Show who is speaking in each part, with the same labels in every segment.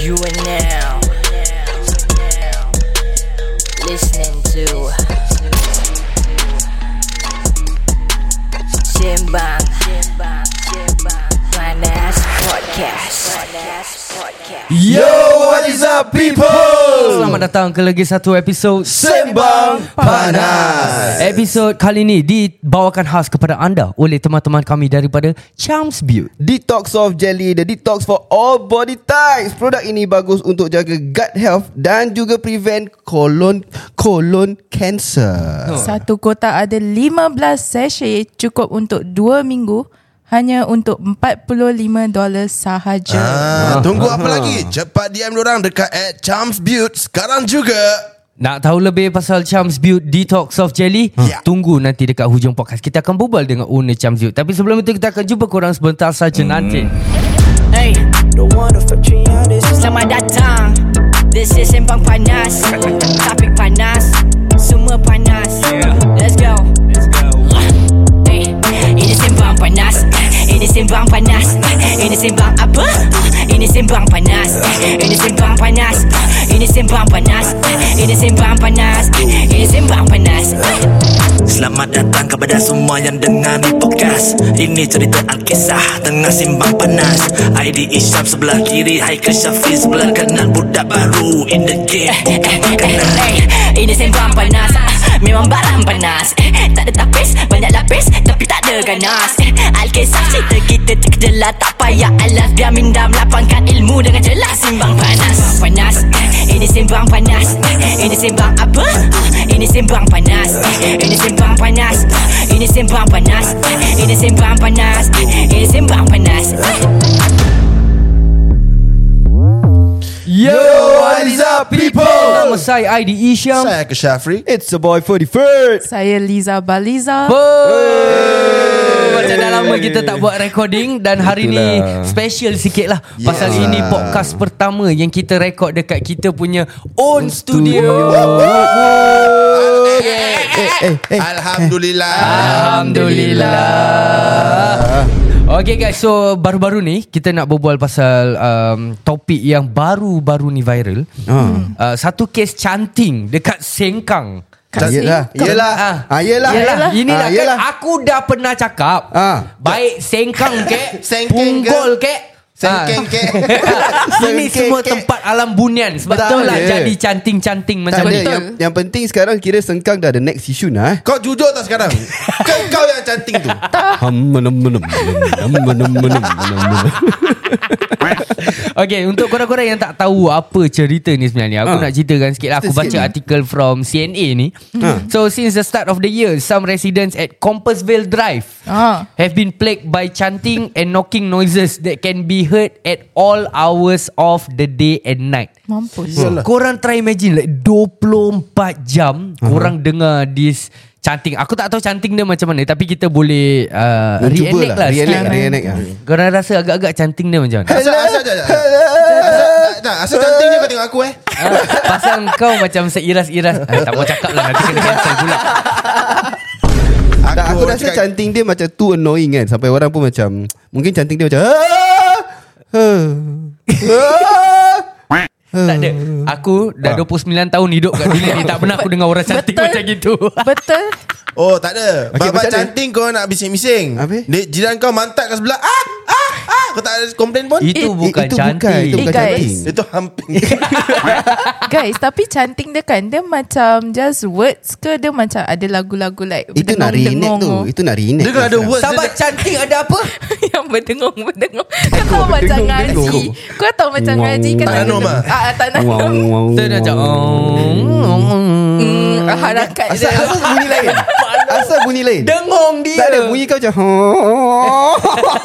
Speaker 1: You are now listening to Simbang Panas Podcast.
Speaker 2: Yo, what is up people?
Speaker 3: Selamat datang ke lagi satu episod
Speaker 2: Sembang Panas.
Speaker 3: Episod kali ini dibawakan khas kepada anda oleh teman-teman kami daripada Charms Beauty.
Speaker 2: Detox of Jelly, the detox for all body types. Produk ini bagus untuk jaga gut health dan juga prevent colon colon cancer.
Speaker 4: Satu kotak ada 15 sachet cukup untuk 2 minggu hanya untuk 45 dolar sahaja.
Speaker 5: Ah, tunggu apa lagi? Cepat DM orang dekat at Charms Butte sekarang juga.
Speaker 3: Nak tahu lebih pasal Charms Beauty Detox Soft Jelly?
Speaker 5: Ya.
Speaker 3: Tunggu nanti dekat hujung podcast. Kita akan berbual dengan owner Charms Beauty. Tapi sebelum itu kita akan jumpa korang sebentar
Speaker 2: Hmm.
Speaker 3: saja nanti.
Speaker 1: Hey, selamat datang. This is Sembang Panas. Topik panas, semua panas. Let's go. Hey, ini Sembang Panas. Ini Sembang Panas. Ini Sembang apa? Ini Sembang Panas. Ini Sembang Panas. Ini Sembang Panas. Ini Sembang Panas. Ini Sembang Panas.
Speaker 6: Selamat datang kepada semua yang dengar ni podcast Ini cerita Alkisah tengah simbang panas ID Isyam sebelah kiri Haikal Syafiq sebelah kanan Budak baru in the game bukan makanan
Speaker 1: Eh, Ini sembang panas Ah, Memang barang panas Eh, Tak ada tapis Banyak lapis Tapi tak ada ganas Eh, Alkisah cerita kita terkejelah Tak payah alas Biar minda melapangkan ilmu Dengan jelas Simbang panas Simbang panas Eh, Ini simbang panas Eh, Ini simbang apa? Ah, Ini simbang panas Eh, Ini simbang panas Ah, Ini simbang panas Eh, Ini simbang panas Eh, Ini simbang panas Eh.
Speaker 3: Yo,
Speaker 2: what is up, people?
Speaker 3: Nama saya E ID Isyam.
Speaker 5: Saya ke Syafri.
Speaker 2: It's a boy 43rd.
Speaker 4: Saya Liza Baliza.
Speaker 3: Oh, Macam dah lama kita tak buat recording Dan hari ni special sikit lah yes. Pasal
Speaker 5: Yes.
Speaker 3: ini podcast pertama Yang kita record dekat kita punya own studio,
Speaker 2: Eh, eh.
Speaker 5: Alhamdulillah.
Speaker 3: Alhamdulillah Okay guys, so baru-baru ni kita nak berbual pasal um, topik yang baru-baru ni viral. Hmm. Uh, satu kes canting dekat Sengkang.
Speaker 4: Kasih.
Speaker 2: Yelah, yelah.
Speaker 3: Ah.
Speaker 2: Ah, yelah.
Speaker 3: Yelah, inilah
Speaker 2: Ah,
Speaker 3: kan
Speaker 2: yelah.
Speaker 3: aku dah pernah cakap.
Speaker 2: Ah.
Speaker 3: Baik sengkang ke,
Speaker 5: Sengkeng ke?
Speaker 3: punggol ke,
Speaker 5: Sengkeng ke?
Speaker 3: Ah. Ini
Speaker 2: Sengkeng
Speaker 3: semua
Speaker 2: ke?
Speaker 3: tempat alam bunian Sebab
Speaker 2: Betul.
Speaker 3: tu lah
Speaker 2: Ya.
Speaker 3: jadi canting-canting
Speaker 2: Tak
Speaker 3: macam
Speaker 2: ada. ya.
Speaker 3: ni
Speaker 2: Yang, yang penting sekarang kira sengkang dah the next issue nah eh.
Speaker 5: Kau jujur tak sekarang? kau, kau yang cantik tu.
Speaker 3: Okay untuk korang-korang yang tak tahu Apa cerita ni sebenarnya Aku
Speaker 2: Ah.
Speaker 3: nak ceritakan sikit lah Aku
Speaker 2: Cerita
Speaker 3: baca
Speaker 2: sikit.
Speaker 3: artikel from CNA ni So since the start of the year Some residents at Compassvale Drive
Speaker 4: Ah.
Speaker 3: Have been plagued by chanting and knocking noises That can be heard at all hours of the day and night
Speaker 4: Mampus.
Speaker 3: Yalah. Korang try imagine like 24 jam uh-huh. korang dengar this chanting. Aku tak tahu chanting dia macam mana tapi kita boleh uh,
Speaker 2: Cuba
Speaker 3: reenact lah, sikit
Speaker 2: Reenact,
Speaker 3: lah.
Speaker 2: reenact lah.
Speaker 3: Korang rasa agak-agak chanting dia macam mana?
Speaker 5: Asal, asal, asal, asal, tak, asal cantiknya kau tengok aku eh.
Speaker 3: ha? Pasal kau macam seiras-iras. Ah, tak mau cakap lah nanti kena cancel pula.
Speaker 5: Aku,
Speaker 2: Tak, aku rasa
Speaker 5: cakap-
Speaker 2: canting dia macam too annoying kan Sampai orang pun macam Mungkin canting dia macam "Ah, ah, ah."
Speaker 3: tak ada. Aku dah 29 tahun hidup kat dunia ni tak pernah aku dengar orang canting
Speaker 4: Betul.
Speaker 3: macam gitu.
Speaker 4: Betul.
Speaker 5: Oh tak ada
Speaker 2: Okey,
Speaker 5: okay, Bapak
Speaker 2: macam mana?
Speaker 5: cantik kau nak bising-bising
Speaker 2: Habis?
Speaker 5: Dia- Jiran kau mantap kat sebelah Ah ah ah Kau tak ada komplain pun
Speaker 3: Itu
Speaker 2: Eh,
Speaker 3: bukan
Speaker 2: itu
Speaker 3: canting.
Speaker 2: bukan, Itu bukan
Speaker 4: Eh, guys.
Speaker 2: canting
Speaker 5: Itu hamping
Speaker 4: Guys, tapi cantik dia kan dia macam just words ke dia macam ada lagu-lagu like
Speaker 2: Itu nak reenact tu
Speaker 4: berdengung-dengung.
Speaker 2: Itu nak reenact
Speaker 5: Dia kalau ada words dia-
Speaker 3: Sahabat canting ada apa?
Speaker 4: yang berdengung berdengung. Kau tahu macam
Speaker 2: berdengung,
Speaker 4: ngaji.
Speaker 2: berdengung.
Speaker 4: Kau tahu macam
Speaker 2: Wow.
Speaker 4: ngaji kan
Speaker 5: Tak
Speaker 4: ada-
Speaker 5: nanum ah?
Speaker 4: Ah, ah, tak nanum.
Speaker 3: Tu dia macam oh.
Speaker 4: Hmm, Harakat
Speaker 2: Asal,
Speaker 4: dia.
Speaker 2: asal bunyi lain Asal bunyi lain
Speaker 3: Dengong dia.
Speaker 2: Tak ada bunyi kau macam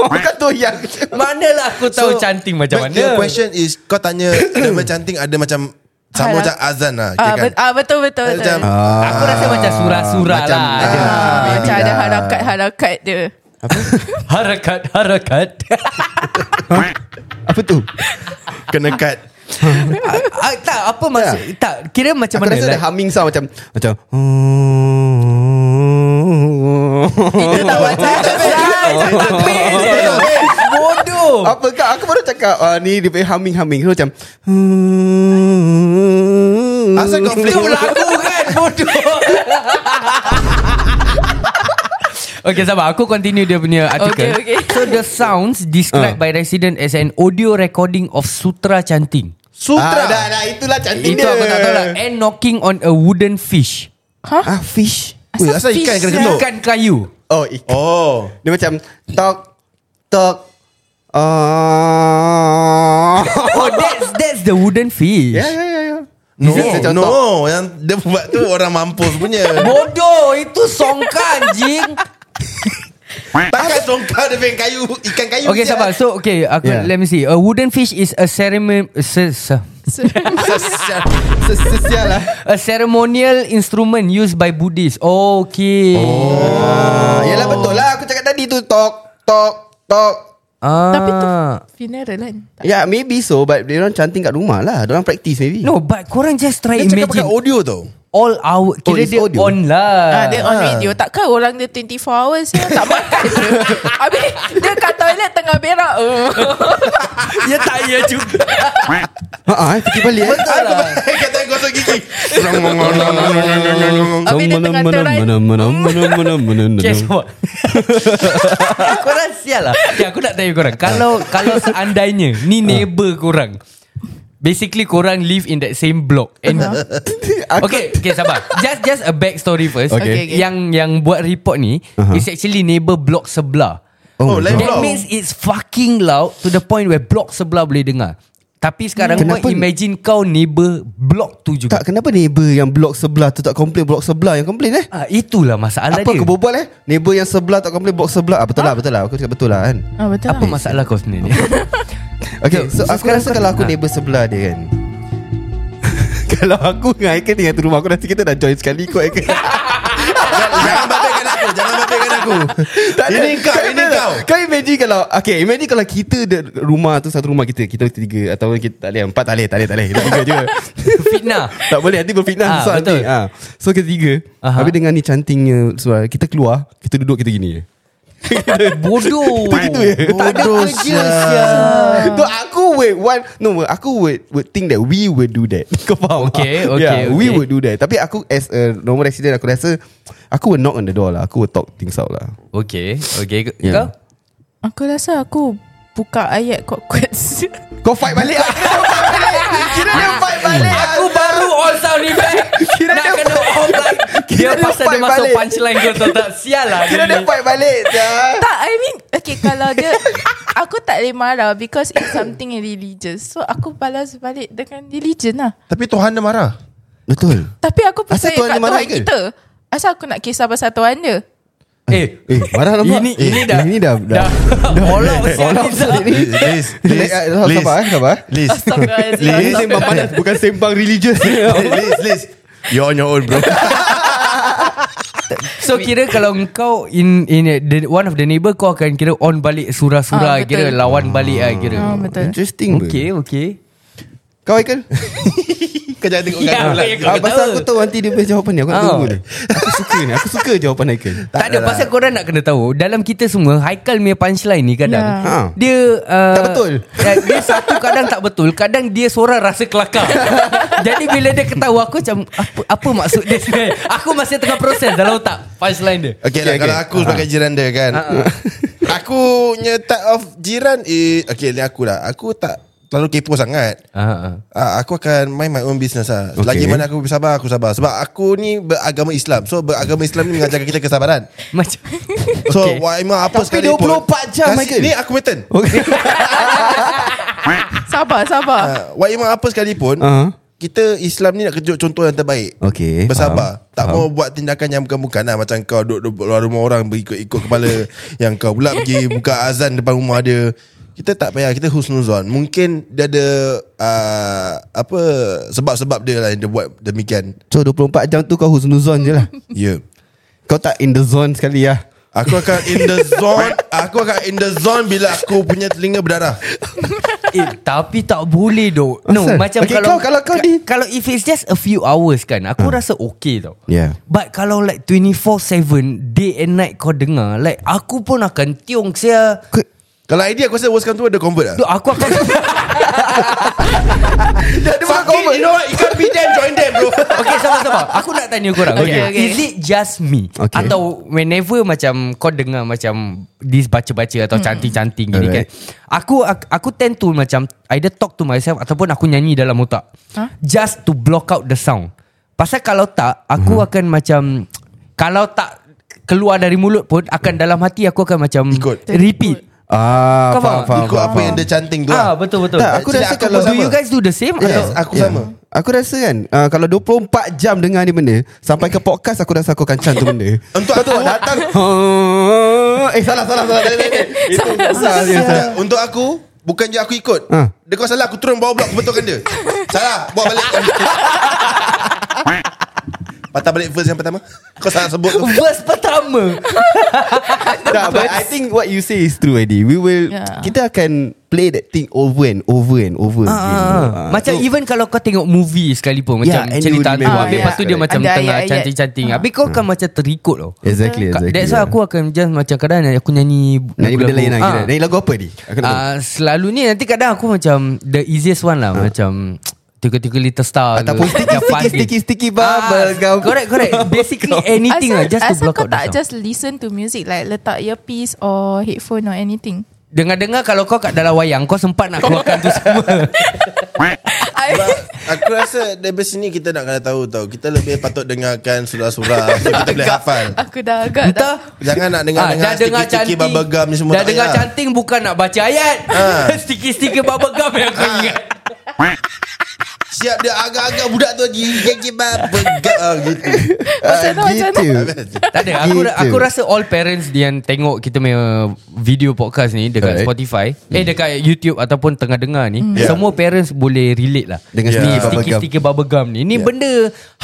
Speaker 2: Kan tu yang
Speaker 3: Manalah aku tahu so, canting macam
Speaker 5: but Your
Speaker 3: mana.
Speaker 5: question is Kau tanya Nama cantik ada macam Sama
Speaker 4: Alah.
Speaker 5: macam azan lah
Speaker 4: Ah,
Speaker 5: kira kan?
Speaker 4: bet- ah, betul betul betul.
Speaker 5: Macam
Speaker 3: Aku rasa macam surah-surah
Speaker 5: Macam-
Speaker 3: lah. Ada.
Speaker 4: Ah,
Speaker 5: Ah,
Speaker 4: macam ada harakat-harakat dia.
Speaker 3: Harakat, harakat.
Speaker 2: Apa tu
Speaker 5: Kena cut
Speaker 3: Ah, ah, tak, apa maksud? Tak, kira macam
Speaker 2: Aku
Speaker 3: mana? lah?
Speaker 2: rasa ada
Speaker 3: Like,
Speaker 2: humming sound macam Macam
Speaker 4: Itu tak macam
Speaker 2: "Oh."
Speaker 5: Betul, betul.
Speaker 3: bodoh.
Speaker 2: Apa kak Aku baru cakap uh, Ni dia punya humming-humming So macam hmm.
Speaker 5: Asal kau lah.
Speaker 3: Itu
Speaker 5: flip
Speaker 3: lagu kan Bodoh Okay sabar Aku continue dia punya artikel
Speaker 4: Okay, okay.
Speaker 3: So the sounds Described uh. by resident As an audio recording Of sutra chanting
Speaker 2: Sutra ah, dah, dah, Itulah cantik
Speaker 3: Itu
Speaker 2: dia
Speaker 3: aku tak tahu lah And knocking on a wooden fish
Speaker 4: Hah?
Speaker 2: Ah fish
Speaker 5: Weh, asal ikan kena
Speaker 4: fish
Speaker 5: ketuk?
Speaker 4: lah?
Speaker 3: Ikan kayu
Speaker 2: Oh ikan
Speaker 5: Oh
Speaker 2: Dia macam Tok Tok uh,
Speaker 3: Oh that's That's the wooden fish
Speaker 2: Ya ya ya ya
Speaker 5: No,
Speaker 2: Dia macam
Speaker 5: no.
Speaker 2: tok.
Speaker 5: Yang dia buat tu orang mampus punya.
Speaker 3: Bodoh Itu songkan jing
Speaker 5: Takkan songkar dia pengen kayu, ikan kayu.
Speaker 3: Okay
Speaker 5: sial.
Speaker 3: sabar So okay aku,
Speaker 2: Yeah.
Speaker 3: yeah. Let me see A wooden fish is a ceremony se- se-
Speaker 2: Se- Sesial lah
Speaker 3: A ceremonial instrument Used by Buddhists Okay
Speaker 2: Ah, Yalah betul lah Aku cakap tadi tu Tok Tok Tok
Speaker 3: Ah.
Speaker 4: Tapi tu funeral kan? Tak.
Speaker 2: Ya yeah, maybe so But dia orang canting kat rumah lah Dia orang practice maybe
Speaker 3: No but korang just try
Speaker 5: Dia
Speaker 3: Dia
Speaker 5: cakap pakai
Speaker 3: imagine
Speaker 5: audio tau.
Speaker 3: All our Kira
Speaker 2: it's
Speaker 3: dia
Speaker 2: audio.
Speaker 3: on lah
Speaker 4: Ah, dia on radio Takkan orang dia 24 hours je Tak makan je Habis Dia kat toilet tengah berak Eh.
Speaker 3: Ya tak ya juga
Speaker 2: Haa eh, Fikir balik eh.
Speaker 5: Betul lah. Kata yang gosok gigi.
Speaker 4: Habis dia tengah terai
Speaker 3: Okay sabar Korang sial lah okay, Aku nak tanya korang Kalau kalau seandainya
Speaker 2: Ah.
Speaker 3: Ni neighbor korang Basically korang live in that same block And
Speaker 2: Aku-
Speaker 3: Okay, okay sabar. Just just a back story first.
Speaker 2: Ah. Okay. Okay,
Speaker 4: okay.
Speaker 3: Yang yang buat report ni uh-huh. is actually neighbor block sebelah.
Speaker 5: Oh, lain
Speaker 3: That
Speaker 5: block.
Speaker 3: means it's fucking loud to the point where block sebelah boleh dengar. Tapi sekarang kau
Speaker 2: Kenapa ni?
Speaker 3: imagine kau neighbor block tu juga.
Speaker 2: Tak kenapa neighbor yang blok sebelah tu tak komplain blok sebelah yang komplain eh?
Speaker 3: Ah, itulah masalah
Speaker 2: Apa
Speaker 3: dia.
Speaker 2: aku berbual eh? Neighbor yang sebelah tak komplain blok sebelah. Ah, betul lah, betul lah. Aku cakap betul lah kan.
Speaker 4: ah, Betul
Speaker 3: Apa
Speaker 4: lah
Speaker 3: masalah kau sebenarnya?
Speaker 2: Okay, so, aku rasa kalau aku
Speaker 3: ha.
Speaker 2: neighbor sebelah dia kan. kalau aku dengan Aika tinggal satu rumah aku nanti kita dah join sekali kot Aika.
Speaker 5: Jangan babaikan aku. Jangan babaikan aku. Ini kau, ini kau.
Speaker 2: Kau imagine kalau Okay imagine kalau kita de, Rumah tu satu rumah kita Kita tiga Atau kita tak boleh Empat tak boleh Tak boleh tak boleh Kita tiga je
Speaker 3: Fitnah.
Speaker 2: Tak boleh nanti berfitnah
Speaker 3: Ah,
Speaker 2: susah
Speaker 3: betul.
Speaker 2: nanti. Ah. So ketiga,
Speaker 3: Aha.
Speaker 2: habis dengan ni cantingnya suara kita keluar, kita duduk kita gini je.
Speaker 3: Bodoh.
Speaker 2: Gitu ya. je.
Speaker 3: Oh, Tak ada lah,
Speaker 5: Bodoh,
Speaker 3: kerja
Speaker 5: sial.
Speaker 3: sial.
Speaker 2: No, aku would want no, aku would would think that we would do that. Kau faham?
Speaker 3: Okay,
Speaker 2: tak?
Speaker 3: okay,
Speaker 2: yeah, we
Speaker 3: okay.
Speaker 2: would do that. Tapi aku as a normal resident aku rasa aku would knock on the door lah. Aku would talk things out lah.
Speaker 3: Okay, okay. Kau?
Speaker 2: Yeah.
Speaker 4: Aku rasa aku Buka ayat kuat-kuat
Speaker 2: Kau fight balik lah. Kira dia fight balik.
Speaker 3: Aku baru all sound effect
Speaker 2: Kira
Speaker 3: Nak
Speaker 2: dia
Speaker 3: kena
Speaker 2: fight-
Speaker 3: all back
Speaker 2: Kira
Speaker 3: Dia
Speaker 2: dia
Speaker 3: pasal dia
Speaker 2: fight
Speaker 3: masuk
Speaker 2: balik.
Speaker 3: punchline kau tahu tak Sial lah
Speaker 2: Kira dia
Speaker 3: ni.
Speaker 2: fight balik. sia.
Speaker 4: Tak I mean Okay kalau dia Aku tak boleh marah Because it's something religious So aku balas balik Dengan religion lah
Speaker 5: Tapi Tuhan dia marah.
Speaker 2: Betul.
Speaker 4: Tapi aku
Speaker 2: Asal
Speaker 4: percaya
Speaker 2: Tuhan
Speaker 4: kat
Speaker 2: dia marah
Speaker 4: Tuhan
Speaker 2: ke?
Speaker 4: kita Asal aku nak kisah pasal Tuhan dia
Speaker 3: Eh
Speaker 2: Eh, marah nampak?
Speaker 3: Ini,
Speaker 2: Eh,
Speaker 3: ini dah
Speaker 2: ini dah- dah-
Speaker 3: All out sial Rizal.
Speaker 5: Liz, Liz, Liz,
Speaker 2: Eh, eh,
Speaker 5: Liz,
Speaker 2: Sabar eh, sabar.
Speaker 5: Liz,
Speaker 4: Astagfirullahaladzim.
Speaker 5: Liz,
Speaker 2: Ini sembang panas, bukan sembang religious.
Speaker 5: Liz, Liz. You're on your own, bro.
Speaker 3: So kira kalau kau In in a- the, one of the neighbour Kau akan kira on balik surah-surah
Speaker 4: Ah, betul.
Speaker 3: Kira lawan balik lah kira
Speaker 4: Ah, Betul
Speaker 2: Interesting. bro.
Speaker 3: Okay okay
Speaker 2: Kau Aikal
Speaker 5: Kau jangan tengok
Speaker 3: Ya,
Speaker 5: kat aku
Speaker 3: kau
Speaker 2: ah, Pasal
Speaker 3: tahu.
Speaker 2: aku Ah. tahu nanti dia punya jawapan ni Aku nak
Speaker 3: Oh.
Speaker 2: tunggu ni Aku suka ni Aku suka jawapan Aikal
Speaker 3: tak, ada pasal
Speaker 2: lah.
Speaker 3: korang nak kena tahu Dalam kita semua Haikal punya punchline ni kadang
Speaker 4: Ya.
Speaker 2: Ha.
Speaker 3: Dia uh,
Speaker 2: Tak betul.
Speaker 3: ya, Dia satu kadang tak betul Kadang dia seorang rasa kelakar Jadi bila dia ketawa Aku macam Apa, apa maksud dia sebenarnya Aku masih tengah proses Dalam otak Punchline dia
Speaker 5: Okay, lah,
Speaker 2: Okay,
Speaker 5: kalau
Speaker 2: okay.
Speaker 5: aku sebagai jiran dia kan Aku punya type of jiran eh, Okay ni aku lah Aku tak terlalu kepo sangat
Speaker 3: Ah, ah.
Speaker 5: Ah, aku akan mind my own business lah. Okay. Lagi mana aku sabar, aku sabar. Sebab aku ni beragama Islam. So beragama Islam ni mengajarkan kita kesabaran.
Speaker 3: Macam
Speaker 5: So okay.
Speaker 3: Okay.
Speaker 5: Waimah apa
Speaker 2: Tapi
Speaker 5: sekali
Speaker 2: 24 jam,
Speaker 5: Kasih-
Speaker 2: Michael.
Speaker 5: Ni aku Milton.
Speaker 2: Okay
Speaker 4: Sabar sabar
Speaker 5: Ah, Waimah apa sekalipun,
Speaker 2: Ah.
Speaker 5: kita Islam ni nak kejut contoh yang terbaik.
Speaker 2: Okay,
Speaker 5: Bersabar. Tak mau buat tindakan yang bukan-bukan lah. Macam kau duduk duduk luar rumah orang berikut-ikut kepala. yang kau pula pergi buka azan depan rumah dia. Kita tak payah Kita husnuzon Mungkin dia ada uh, Apa Sebab-sebab dia lah Yang dia buat demikian
Speaker 2: So 24 jam tu kau husnuzon je lah
Speaker 5: Ya yeah.
Speaker 2: Kau tak in the zone sekali lah
Speaker 5: Aku akan in the zone Aku akan in the zone Bila aku punya telinga berdarah
Speaker 3: eh, Tapi tak boleh dok No
Speaker 2: Asal?
Speaker 3: macam
Speaker 2: Okay,
Speaker 3: kalau
Speaker 2: kau- kalau kau Hmm.
Speaker 3: ka-
Speaker 2: di-
Speaker 3: Kalau if it's just a few hours kan Aku rasa okay tau
Speaker 2: Yeah.
Speaker 3: But kalau like 24-7 Day and night kau dengar Like aku pun akan tiung saya
Speaker 2: Kau,
Speaker 5: Kalau idea aku rasa worst come to worst Dia convert lah
Speaker 3: Duh, aku akan
Speaker 5: Dia bukan convert You know what You can't beat them Join them bro
Speaker 3: Okay sabar-sabar Aku nak tanya korang
Speaker 4: Okay,
Speaker 3: okay.
Speaker 4: okay.
Speaker 3: okay. Is it just me
Speaker 2: Okay.
Speaker 3: okay. Atau whenever macam Kau dengar macam This baca-baca Atau cantik-cantik gini
Speaker 2: Alright.
Speaker 3: kan Aku ak- aku tend to macam Either talk to myself Ataupun aku nyanyi dalam otak
Speaker 4: Huh?
Speaker 3: Just to block out the sound Pasal kalau tak Aku akan macam Kalau tak Keluar dari mulut pun Akan dalam hati Aku akan macam
Speaker 5: Ikut.
Speaker 3: Repeat
Speaker 2: Ah,
Speaker 3: Kau faham?
Speaker 2: faham, faham,
Speaker 5: Ikut
Speaker 2: faham,
Speaker 5: apa
Speaker 2: faham.
Speaker 5: yang dia canting tu
Speaker 3: Ah
Speaker 5: lah
Speaker 3: Betul-betul
Speaker 2: Tak, aku
Speaker 5: Actually,
Speaker 2: rasa
Speaker 5: aku
Speaker 2: kalau
Speaker 5: pun
Speaker 3: Do you
Speaker 5: sama.
Speaker 3: guys do the same?
Speaker 5: Yes
Speaker 3: Atau
Speaker 5: Aku sama
Speaker 2: Ya. Aku rasa kan uh, Kalau 24 jam dengar ni benda Sampai ke podcast Aku rasa aku akan chant tu benda
Speaker 5: Untuk aku datang
Speaker 2: Eh salah salah salah Itu
Speaker 5: Ah, tak. Untuk aku Bukan je aku ikut
Speaker 2: Ah.
Speaker 5: Dia kau salah Aku turun bawah blok Aku betulkan dia Salah Bawa balik Patah balik verse yang pertama Kau salah sebut tu
Speaker 3: Verse pertama
Speaker 2: Tak, but I think what you say is true Eddie We will
Speaker 4: Yeah.
Speaker 2: Kita akan play that thing over and over and
Speaker 3: Ah,
Speaker 2: over again
Speaker 3: ah. Macam
Speaker 2: So-
Speaker 3: even kalau kau tengok movie sekalipun
Speaker 2: Yeah,
Speaker 3: Macam
Speaker 2: and you
Speaker 3: cerita tu
Speaker 2: remember.
Speaker 3: Habis
Speaker 4: Ah,
Speaker 3: lepas tu
Speaker 4: yeah.
Speaker 3: dia macam
Speaker 4: Ada
Speaker 3: tengah
Speaker 4: ayat-ayat.
Speaker 3: cantik-cantik Habis kau akan macam terikut loh
Speaker 2: Exactly, Ah. Hmm. exactly
Speaker 3: That's why aku akan just macam kadang aku nyanyi
Speaker 2: Nyanyi benda lain lah
Speaker 3: Ah.
Speaker 2: kira Nyanyi lagu apa ni? Aku nak tahu
Speaker 3: Ah, Selalu ni nanti kadang aku macam The easiest one
Speaker 2: Ah.
Speaker 3: lah Macam Tiga-tiga little star ke,
Speaker 2: Ataupun Ah, sticky,
Speaker 3: Japan
Speaker 2: sticky,
Speaker 3: ni.
Speaker 2: sticky, sticky bubble
Speaker 3: Ah,
Speaker 2: gum.
Speaker 3: Correct correct Basically anything lah
Speaker 4: asal,
Speaker 3: Just to
Speaker 4: asal
Speaker 3: block
Speaker 4: kau
Speaker 3: out the
Speaker 4: tak
Speaker 3: sound.
Speaker 4: just listen to music Like letak earpiece Or headphone or anything
Speaker 3: Dengar-dengar kalau kau kat dalam wayang Kau sempat nak keluarkan tu semua
Speaker 4: I,
Speaker 5: Aku rasa dari sini kita nak kena tahu tau Kita lebih patut dengarkan surah-surah So kita boleh hafal
Speaker 4: Aku dah agak
Speaker 3: Entah
Speaker 4: dah
Speaker 5: Jangan nak
Speaker 3: Ah,
Speaker 5: dengar-dengar
Speaker 3: dah dengar
Speaker 5: Sticky-sticky
Speaker 3: cantik
Speaker 5: bubble gum ni semua
Speaker 3: Dah dengar
Speaker 5: payah.
Speaker 3: cantik Bukan nak baca ayat
Speaker 5: Ah.
Speaker 3: Sticky-sticky bubble gum Yang aku ingat
Speaker 5: Siap dia agak-agak budak tu lagi Sticky bubble gum Ah, Gitu Ah,
Speaker 4: Pasal tu macam mana
Speaker 3: Tak ada aku,
Speaker 2: Gitu.
Speaker 3: aku rasa all parents Yang tengok kita punya Video podcast ni
Speaker 2: Alright.
Speaker 3: Dekat Spotify Eh dekat YouTube Ataupun tengah dengar ni
Speaker 5: Yeah.
Speaker 3: Semua parents boleh relate lah
Speaker 2: Dengan
Speaker 5: Yeah.
Speaker 3: Ni
Speaker 2: sticky bubble gum
Speaker 3: Sticky-sticky bubble gum ni Ni benda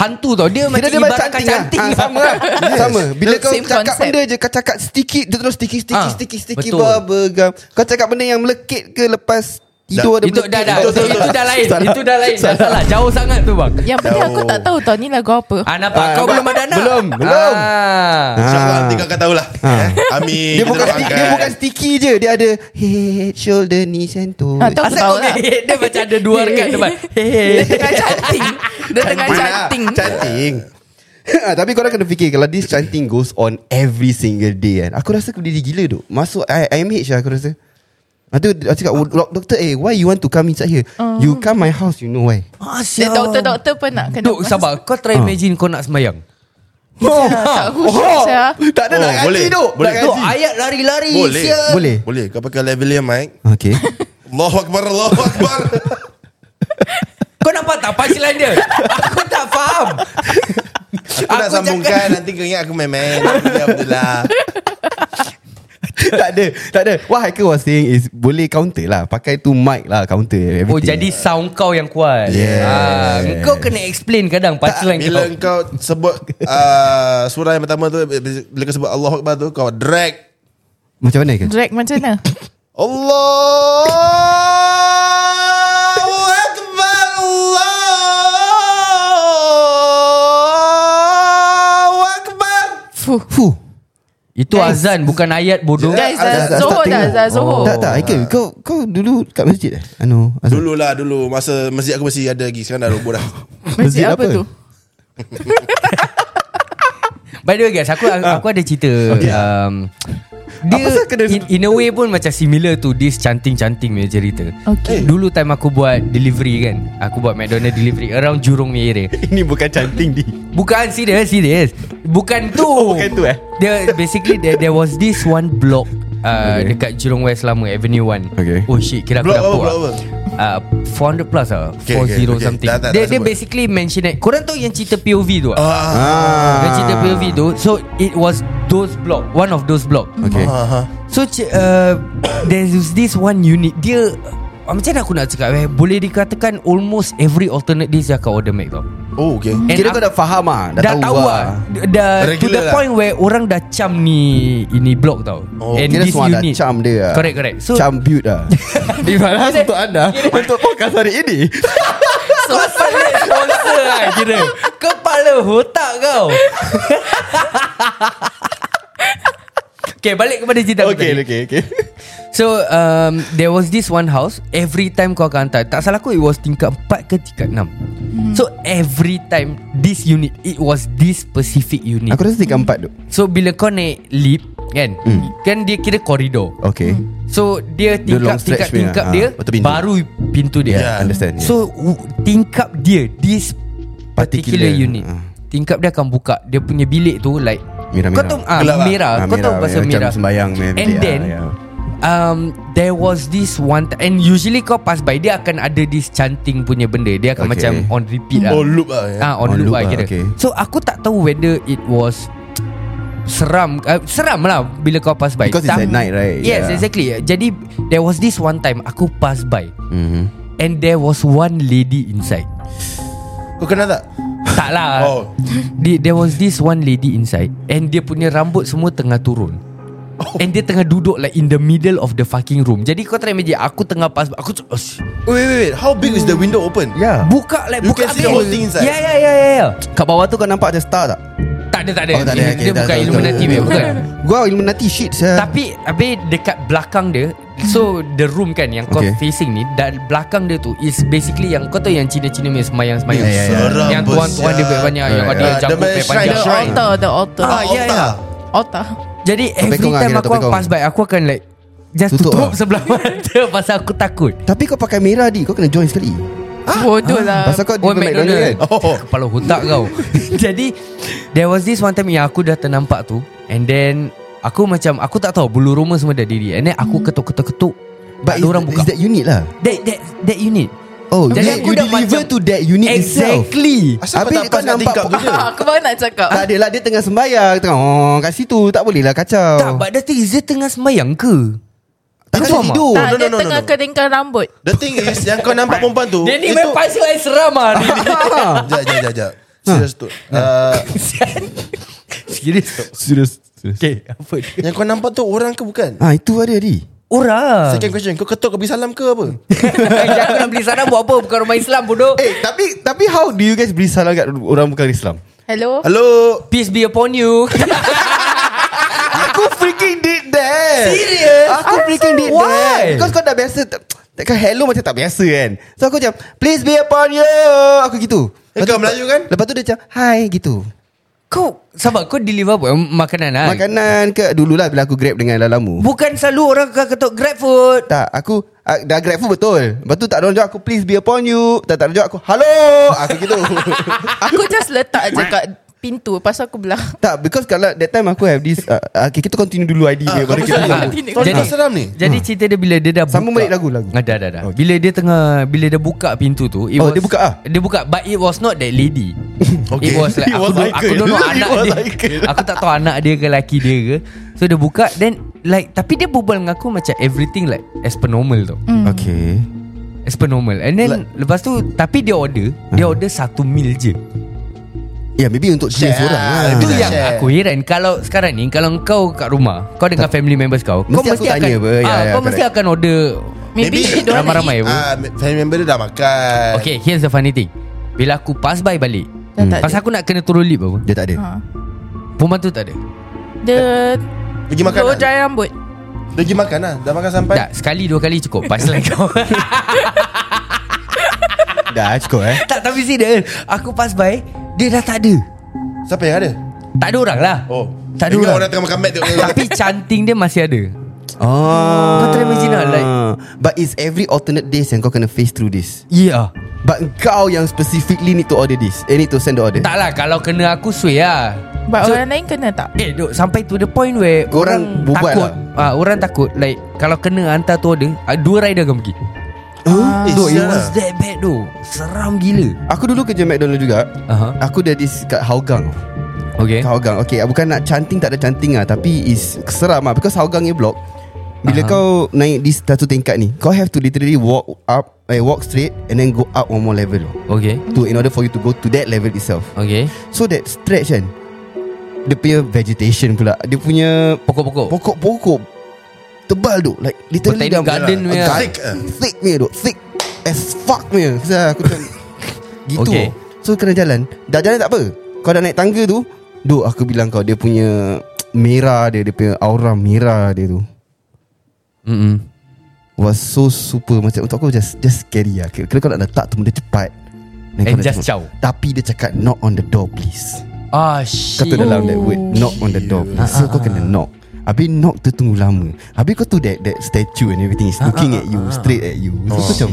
Speaker 3: Hantu tau Dia
Speaker 2: Kira
Speaker 3: macam
Speaker 2: dia macam
Speaker 3: ibaratkan
Speaker 2: cantik, cantik lah.
Speaker 3: cantik
Speaker 2: Ha, sama lah. sama. Bila kau
Speaker 4: Same
Speaker 2: cakap
Speaker 4: concept.
Speaker 2: benda je, kau cakap sticky, dia terus sticky, sticky,
Speaker 3: Ah,
Speaker 2: sticky, sticky,
Speaker 3: betul.
Speaker 2: bubble gum. Kau cakap benda yang melekit ke lepas tidur ada
Speaker 3: Itu
Speaker 2: melekit
Speaker 3: dah dah
Speaker 2: ke?
Speaker 3: Itu, itu dah lain
Speaker 2: Salah. Ya.
Speaker 3: Itu dah lain Dah salah Jauh sangat tu bang
Speaker 4: Yang penting aku tak tahu tau Ni lagu apa
Speaker 3: Ah nampak
Speaker 2: Ah,
Speaker 3: kau
Speaker 2: nampak?
Speaker 3: belum ada anak
Speaker 2: Belum, belum.
Speaker 3: Ah.
Speaker 5: InsyaAllah
Speaker 2: Ah.
Speaker 5: nanti kau akan tahulah Eh, Amin
Speaker 2: Dia
Speaker 5: Kita
Speaker 2: bukan
Speaker 5: doakan.
Speaker 2: sticky, dia bukan sticky je. Dia ada head, shoulder, knees and toes.
Speaker 3: Ah,
Speaker 4: Ha, tu aku tahu
Speaker 3: Asal
Speaker 4: lah
Speaker 3: okay, dia macam ada dua rekat depan.
Speaker 4: Dia tengah canting Dia tengah
Speaker 5: lah.
Speaker 4: canting
Speaker 2: Canting. Ah, Tapi korang kena fikir Kalau this chanting goes on Every single day kan Aku rasa aku diri gila tu Masuk I, IMH lah aku rasa Lepas tu aku cakap "Oh, doc- Doktor eh Why you want to come inside here
Speaker 3: Oh.
Speaker 2: You come my house You know why
Speaker 3: Ah,
Speaker 4: Dia
Speaker 3: sial.
Speaker 4: doktor-doktor pun nak kena
Speaker 3: Duk sabar Kau
Speaker 2: Ah.
Speaker 3: try imagine kau nak semayang
Speaker 2: Oh,
Speaker 4: tak ya. khusyuk, Syah.
Speaker 2: Tak ada
Speaker 5: Oh,
Speaker 2: nak
Speaker 5: boleh,
Speaker 2: ngaji tu
Speaker 5: boleh.
Speaker 2: Nak
Speaker 3: Duk
Speaker 2: ngaji.
Speaker 3: ayat lari-lari
Speaker 5: Boleh
Speaker 3: sial.
Speaker 2: Boleh.
Speaker 5: Boleh Kau pakai ya, lavalier mic
Speaker 2: Okay
Speaker 5: Allahu Akbar Allahu Akbar
Speaker 3: Kau nampak tak punchline dia Aku tak faham
Speaker 5: Aku nak sambungkan Nanti kau ingat aku main-main Ya Abdullah
Speaker 2: Tak ada Tak ada What Haikal was saying is Boleh counter lah Pakai tu mic lah Counter everything
Speaker 3: Oh jadi sound kau yang kuat
Speaker 2: Yes.
Speaker 3: Ah, Kau kena explain kadang punchline
Speaker 5: Bila
Speaker 3: kau
Speaker 5: kau sebut uh, Surah yang pertama tu Bila kau sebut Allahu Akbar tu Kau drag
Speaker 2: Macam mana kan
Speaker 4: Drag macam mana
Speaker 5: Allahu Akbar Allahu Akbar
Speaker 4: Fuh
Speaker 2: Fuh
Speaker 3: Itu
Speaker 4: Guys.
Speaker 3: azan bukan ayat bodoh
Speaker 4: Guys
Speaker 5: Dah-
Speaker 4: dah
Speaker 5: dah-
Speaker 4: Zohor
Speaker 2: start
Speaker 4: dah
Speaker 2: tengok. Oh.
Speaker 4: Dah Zohor
Speaker 5: Oh.
Speaker 2: Tak tak Haikal Kau kau dulu kat masjid eh Anu Azhar.
Speaker 5: Dulu lah dulu Masa masjid aku masih ada lagi Sekarang dah roboh dah
Speaker 4: Masjid apa tu
Speaker 3: By the way guys Aku aku ada cerita um, Dia
Speaker 2: Ah. Apa sah kena-
Speaker 3: in, in a way pun Macam similar to This chanting-chanting punya cerita
Speaker 4: Okay.
Speaker 3: Dulu time aku buat Delivery kan Aku buat McDonald delivery Around Jurong punya area
Speaker 2: Ini bukan canting di
Speaker 3: Bukan serious serious. Bukan tu.
Speaker 2: Bukan tu, eh?
Speaker 3: There basically there, there was this one block uh, okay. dekat Jurong West lama Avenue 1.
Speaker 2: Okay.
Speaker 3: Oh shit, kira
Speaker 5: Block
Speaker 3: aku
Speaker 5: apa,
Speaker 3: dapur.
Speaker 5: block
Speaker 3: ah. Uh, 400 plus ah,
Speaker 5: Okay,
Speaker 3: 40
Speaker 5: okay, okay.
Speaker 3: something.
Speaker 5: Dah, dah, dah
Speaker 3: dia dia
Speaker 5: sebut.
Speaker 3: basically mention it. Korang tahu yang cerita POV tu ah?
Speaker 5: Ah,
Speaker 3: Yang cerita POV tu. So it was those block, one of those block.
Speaker 2: Okay
Speaker 5: ah, ah.
Speaker 3: So c- uh, There's this one unit Dia uh, Macam mana aku nak cakap eh? Boleh dikatakan Almost every alternate days Dia akan order Mac tau
Speaker 5: Oh okay
Speaker 3: And
Speaker 2: Kira
Speaker 3: aku-
Speaker 2: kau dah faham ah,
Speaker 3: Dah, dah tahu lah D- dah, To
Speaker 5: Regular
Speaker 3: the
Speaker 5: lah.
Speaker 3: point where Orang dah cam ni Ini blog tau
Speaker 5: Oh.
Speaker 2: Kira semua dah cam dia. ah.
Speaker 3: Correct correct So
Speaker 2: Cam build lah. Di mana untuk anda untuk podcast hari ini.
Speaker 3: Kepala sponsor lah kira Kepala otak kau Okay balik kepada cerita aku
Speaker 2: okay,
Speaker 3: tadi.
Speaker 2: okay, okay.
Speaker 3: So um, There was this one house Every time kau akan hantar Tak salah aku It was tingkat 4 ke tingkat 6 So every time This unit It was this specific unit
Speaker 2: Aku rasa tingkat empat tu
Speaker 3: So bila kau naik lift Kan Kan dia kira koridor
Speaker 2: Okay
Speaker 3: So dia
Speaker 2: Hmm. Dia long
Speaker 3: tingkap
Speaker 2: stretch
Speaker 3: tingkap tingkap
Speaker 2: punya. Ah,
Speaker 3: dia
Speaker 2: betul pintu. Ya.
Speaker 3: baru pintu dia.
Speaker 5: Yeah,
Speaker 2: understand, yes.
Speaker 3: So w- tingkap dia this particular,
Speaker 2: Particular,
Speaker 3: unit.
Speaker 2: ah.
Speaker 3: Tingkap dia akan buka dia punya bilik tu like
Speaker 2: Merah-merah.
Speaker 3: Kau tahu ah,
Speaker 5: Gelap lah.
Speaker 3: merah.
Speaker 2: Ah,
Speaker 3: Kau tahu
Speaker 2: merah,
Speaker 3: pasal
Speaker 2: macam
Speaker 3: merah.
Speaker 2: sembahyang punya
Speaker 3: And
Speaker 2: bilik, ah,
Speaker 3: then
Speaker 2: yeah.
Speaker 3: um there was this one t- and usually kau pass by dia akan ada this chanting punya benda. Dia akan
Speaker 2: Okay.
Speaker 3: macam on repeat lah.
Speaker 5: Oh loop lah ya.
Speaker 3: Ah on,
Speaker 2: On
Speaker 3: loop, lah
Speaker 2: loop lah,
Speaker 3: kira.
Speaker 2: okay.
Speaker 3: So aku tak tahu whether it was seram uh, seram lah bila kau pass by.
Speaker 2: Because it's
Speaker 3: Tam-
Speaker 2: at night, right?
Speaker 3: Yes,
Speaker 2: Yeah.
Speaker 3: exactly. Jadi there was this one time aku pass by
Speaker 2: mm-hmm.
Speaker 3: and there was one lady inside.
Speaker 5: Kau kenal tak?
Speaker 3: tak lah.
Speaker 5: Oh.
Speaker 3: Di, there was this one lady inside and dia punya rambut semua tengah turun.
Speaker 2: Oh.
Speaker 3: And dia tengah duduk like in the middle of the fucking room. Jadi kau try imagine aku tengah pass by, aku tu- Ush.
Speaker 5: Wait wait wait. How big is the window open?
Speaker 3: Ya.
Speaker 2: Yeah
Speaker 3: buka like
Speaker 5: You can
Speaker 3: buka
Speaker 5: see the whole thing inside.
Speaker 3: Ya ya ya ya ya.
Speaker 2: Ya. Kat bawah tu kau nampak ada star tak?
Speaker 3: Tak ada tak ada.
Speaker 2: Oh, tak ada.
Speaker 3: Eh, Dia-
Speaker 2: Okay,
Speaker 3: dia
Speaker 2: tak
Speaker 3: bukan
Speaker 2: tahu,
Speaker 3: Illuminati
Speaker 2: tahu.
Speaker 3: punya, bukan.
Speaker 2: Gua Illuminati shit saya.
Speaker 3: Tapi Habis dekat belakang dia So the room kan Yang kau
Speaker 2: Okay.
Speaker 3: facing ni Dan belakang dia tu Is basically Yang kau tahu yang Cina-Cina punya Semayang-semayang
Speaker 2: Ya, ya, ya.
Speaker 5: Seram
Speaker 3: Yang tuan-tuan dia banyak banyak Yang
Speaker 2: Alright,
Speaker 3: ada
Speaker 5: alright. Dia
Speaker 3: jangkut punya
Speaker 5: punya
Speaker 4: The
Speaker 3: panjang
Speaker 5: shrine. Shrine.
Speaker 4: altar, the altar.
Speaker 5: Ah,
Speaker 3: ya, ya.
Speaker 4: Altar.
Speaker 3: Jadi every
Speaker 2: Topeng kau
Speaker 3: time
Speaker 2: lah,
Speaker 3: aku
Speaker 2: topeng kau.
Speaker 3: pass by Aku akan like Just
Speaker 2: Tutup
Speaker 3: tutup,
Speaker 2: lah.
Speaker 3: sebelah mata Pasal aku takut
Speaker 2: Tapi kau pakai merah di, kau kena join sekali.
Speaker 5: Ah.
Speaker 4: Bodoh lah.
Speaker 2: Pasal kau di
Speaker 3: Oh McDonald's
Speaker 2: McDonald's kan.
Speaker 3: oh. Kepala otak kau Jadi There was this one time Yang aku dah ternampak tu And then Aku macam Aku tak tahu Bulu rumah semua dah diri And then aku ketuk-ketuk-ketuk
Speaker 2: But
Speaker 3: But
Speaker 2: is,
Speaker 3: orang buka
Speaker 2: is that unit lah.
Speaker 3: That that that unit.
Speaker 2: Oh,
Speaker 3: Jadi
Speaker 2: you,
Speaker 3: aku
Speaker 2: you
Speaker 3: dah
Speaker 2: deliver
Speaker 3: macam-
Speaker 2: to that unit itself.
Speaker 3: Exactly.
Speaker 5: Asal
Speaker 2: Habis
Speaker 5: kau tak
Speaker 2: kau
Speaker 5: pas nak
Speaker 2: nampak
Speaker 5: tingkap
Speaker 2: pun- ah,
Speaker 5: benda?
Speaker 4: Aku baru nak cakap.
Speaker 2: Tak adalah dia tengah sembahyang tengah oh kat situ tak boleh lah kacau.
Speaker 5: Oh.
Speaker 3: Tak, but the thing is dia tengah sembahyang ke? Kau
Speaker 2: tak kena
Speaker 3: faham
Speaker 2: tidur.
Speaker 5: oh,
Speaker 4: Tak,
Speaker 5: no,
Speaker 4: dia
Speaker 5: no, no,
Speaker 4: tengah
Speaker 5: no.
Speaker 4: keringkan rambut.
Speaker 5: The thing is Yang kau nampak perempuan tu
Speaker 3: Dia ni
Speaker 5: itu-
Speaker 3: main pasal air seram ah. ni.
Speaker 5: Jap jap jap jap Serius tu Ah,
Speaker 3: Serius.
Speaker 2: Serius. Serius.
Speaker 3: Okay, apa dia?
Speaker 5: Yang kau nampak tu orang ke bukan?
Speaker 2: Ah itu ada di.
Speaker 3: Orang.
Speaker 5: Second question Kau ketuk kau beri salam ke apa?
Speaker 3: Jangan nak beli sana buat apa? Bukan rumah Islam bodoh.
Speaker 2: Eh tapi tapi how do you guys beri salam kat orang bukan Islam?
Speaker 4: Hello?
Speaker 5: Hello
Speaker 3: Peace be upon you.
Speaker 2: Aku freaking did that
Speaker 3: Serious?
Speaker 2: Aku
Speaker 3: I'm
Speaker 2: freaking
Speaker 3: sorry.
Speaker 2: did
Speaker 3: Why?
Speaker 2: that Because kau dah biasa tak- Takkan hello macam tak biasa kan So aku macam Please be upon you Aku gitu
Speaker 5: Eh,
Speaker 2: Lepas
Speaker 5: kau
Speaker 2: tu-
Speaker 5: Melayu kan?
Speaker 2: Lepas tu dia macam Hi gitu
Speaker 3: Kau sabar kau deliver apa? Makanan ah.
Speaker 2: Makanan ke Dululah bila aku grab dengan lalamu
Speaker 3: Bukan selalu orang akan ketuk Grab food.
Speaker 2: Tak aku ah, Dah grab food betul Lepas tu tak ada orang jawab Aku please be upon you Tak tak ada orang jawab Aku hello Aku gitu
Speaker 4: Aku just letak je kat pintu Pasal aku belah
Speaker 2: Tak because kalau That time aku have this uh, Okay kita continue dulu ID dia Baru kita
Speaker 3: Ah,
Speaker 4: Continue.
Speaker 5: Kau dah seram ni?
Speaker 3: Jadi cerita dia bila dia dah
Speaker 2: Sambung
Speaker 3: buka-
Speaker 2: balik Hmm. lagu, lagu.
Speaker 3: Ah, dah dah dah. Bila dia tengah bila dia buka pintu tu, it
Speaker 2: Oh, dia buka ah?
Speaker 3: Dia buka but it was not that lady.
Speaker 5: Okay.
Speaker 3: It was like
Speaker 2: It
Speaker 3: aku,
Speaker 2: was
Speaker 3: don't- aku
Speaker 2: Michael.
Speaker 3: don't know
Speaker 2: It
Speaker 3: anak
Speaker 2: was
Speaker 3: dia.
Speaker 2: Michael.
Speaker 3: Aku tak tahu anak dia ke laki dia ke. So dia buka then like tapi dia berbual dengan aku macam everything like as per normal tau.
Speaker 2: Okay
Speaker 3: As per normal. And then lepas tu tapi dia order, dia
Speaker 2: Ah.
Speaker 3: order satu meal je.
Speaker 2: Ya yeah, maybe untuk dia seorang lah.
Speaker 3: Itu yang aku heran Kalau sekarang ni Kalau kau kat rumah Kau dengan family members kau Kau
Speaker 2: Mesti aku
Speaker 3: mesti akan
Speaker 2: tanya apa.
Speaker 3: ah,
Speaker 2: Ya, ya,
Speaker 3: Kau mesti
Speaker 2: correct.
Speaker 3: akan order
Speaker 5: Maybe
Speaker 4: Maybe, she don't
Speaker 3: Ramai-ramai apa?
Speaker 5: Ah, Family member dia dah makan
Speaker 3: Okay here's the funny thing Bila aku pass by balik hmm.
Speaker 4: Dah tak
Speaker 3: Pasal aku nak kena turun lip apa
Speaker 2: Dia tak ada
Speaker 4: Ha.
Speaker 3: Perempuan tu tak ada
Speaker 4: Dia
Speaker 5: Pergi makan
Speaker 4: blow
Speaker 5: lah
Speaker 4: dry rambut
Speaker 5: Dia pergi makan lah Dah makan sampai
Speaker 3: Tak sekali dua kali cukup Pasal kau
Speaker 2: Dah cukup eh
Speaker 3: Tak tapi si dia Aku pass by Dia dah tak ada
Speaker 5: Siapa yang ada?
Speaker 3: Tak ada orang lah
Speaker 5: Oh
Speaker 3: Tak ada
Speaker 5: Ingat
Speaker 3: orang
Speaker 5: orang tengah makan mat tu
Speaker 3: Tapi canting dia masih ada
Speaker 2: Oh.
Speaker 3: Kau try imagine lah, like-
Speaker 2: But it's every alternate days Yang kau kena face through this
Speaker 3: Ya yeah.
Speaker 2: But kau yang specifically Need to order this Eh need to send the order
Speaker 3: Tak lah kalau kena aku sway lah
Speaker 4: But
Speaker 3: So-
Speaker 4: orang lain kena tak?
Speaker 3: Eh duk sampai to the point where Orang
Speaker 2: Korang buat
Speaker 3: takut ah, Orang takut Like kalau kena hantar tu order ah, Dua rider akan pergi
Speaker 5: Eh
Speaker 3: Duh, it
Speaker 2: Ya.
Speaker 5: sial
Speaker 3: was
Speaker 5: lah
Speaker 3: that bad tu Seram gila
Speaker 2: Aku dulu kerja McDonald juga
Speaker 3: Aha. Eh?
Speaker 2: Aku dah di kat Hougang
Speaker 3: Okay
Speaker 2: Kat Hougang Okay ah, bukan nak canting Tak ada canting lah Tapi is Seram lah Because Hougang ni block
Speaker 3: Aha.
Speaker 2: Bila kau naik di satu tingkat ni Kau have to literally walk up eh, Walk straight And then go up one more level oh,
Speaker 3: Okay
Speaker 2: to, In order for you to go to that level itself
Speaker 3: Okay
Speaker 2: So that stretch kan Dia punya vegetation pula Dia punya
Speaker 3: Pokok-pokok
Speaker 2: Pokok-pokok Tebal tu Like literally
Speaker 3: Botanic garden punya.
Speaker 2: Ah,
Speaker 5: Thick, ah.
Speaker 2: Thick punya tu Thick as fuck punya Saya aku macam Gitu
Speaker 3: Okay.
Speaker 2: So kena jalan Dah jalan tak apa Kau dah naik tangga tu Duk aku bilang kau Dia punya Merah dia Dia punya aura merah dia tu
Speaker 3: Mm-mm.
Speaker 2: was so super macam untuk aku just just scary lah. Kira, kira kau nak letak tu benda cepat. Dan kau
Speaker 3: And
Speaker 2: nak
Speaker 3: just
Speaker 2: tengok.
Speaker 3: ciao.
Speaker 2: Tapi dia cakap knock on the door please.
Speaker 3: Ah shit
Speaker 2: Kata dalam that word knock on the door please. So kau kena knock. Habis knock tu tunggu lama. Habis kau tu that that statue and everything is looking at you straight at you. So kau macam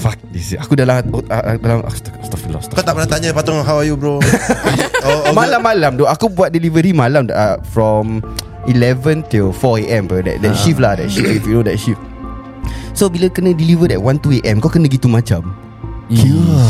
Speaker 2: fuck this. Aku lah, dalam ah, dalam astagfirullah.
Speaker 5: Kau tak pernah tanya patung How are you bro oh, oh,
Speaker 2: Malam-malam tu Aku buat delivery malam uh, From 11 till 4 am per, That, that shift lah That shift if You know that shift So bila kena deliver That 1 2 am Kau kena gitu macam